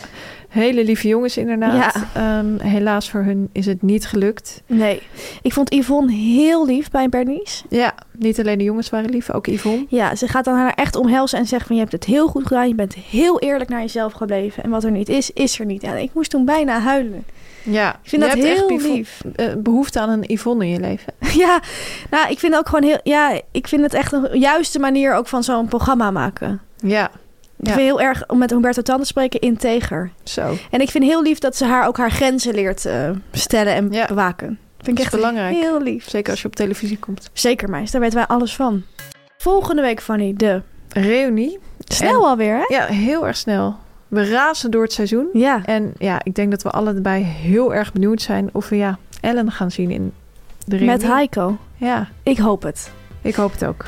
Hele lieve jongens inderdaad. Ehm, helaas voor hun is het niet gelukt. Nee, ik vond Yvonne heel lief bij Bernice. Ja, niet alleen de jongens waren lief, ook Yvonne. Ja, ze gaat dan haar echt omhelzen en zegt van... je hebt het heel goed gedaan, je bent heel eerlijk naar jezelf gebleven... en wat er niet is, is er niet. Ja, ik moest toen bijna huilen. Ja, Ik vind je dat hebt heel echt bevo- lief. eh, behoefte aan een Yvonne in je leven. Ja, nou, ik vind ook gewoon heel... Ja, ik vind het echt een juiste manier ook van zo'n programma maken. Ja, Ik Ja. vind heel erg, om met Humberto Tan te spreken, integer. zo. Dat En ik vind heel lief dat ze haar ook haar grenzen leert eh, stellen en Ja. bewaken. Vind ik is echt belangrijk. heel lief. Zeker als je op televisie komt. Zeker, meis. Daar weten wij alles van. Volgende week, Fanny, de... Reunie. Snel alweer, hè? Ja, heel erg snel. We razen door het seizoen. Ja, En ja, ik denk dat we allebei heel erg benieuwd zijn of we ja, Ellen gaan zien in de ring. met Heiko. Ja, Ik hoop het. ik hoop het ook.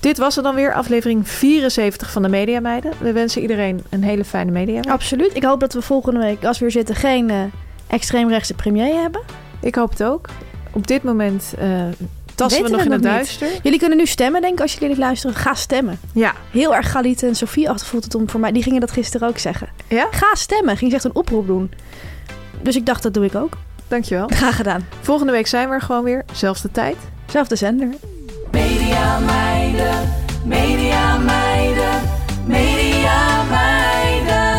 Dit was het dan weer, aflevering 74 van de Media Meiden. We wensen iedereen een hele fijne Media Week. Absoluut. Ik hoop dat we volgende week, als we weer zitten, geen eh, extreemrechtse premier hebben. Ik hoop het ook. Op dit moment eh, tasten we Weten nog in we het nog duister. Jullie kunnen nu stemmen, denk ik, als jullie dit luisteren. Ga stemmen. Ja. Heel erg Galite en Sofie achtervoelt het om voor mij. Die gingen dat gisteren ook zeggen. Ja? Ga stemmen. Ging ze echt een oproep doen. Dus ik dacht, dat doe ik ook. Dankjewel. Graag gedaan. Volgende week zijn we er gewoon weer. Zelfde tijd. Zelfde zender. Media meiden, media meiden, media meiden.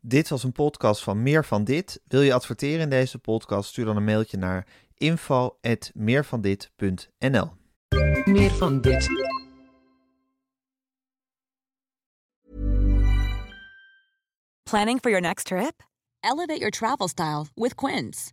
Dit was een podcast van Meer van Dit. Wil je adverteren in deze podcast? Stuur dan een mailtje naar info.meervandit.nl Meer van dit. Planning for your next trip? Elevate your travel style with Quince.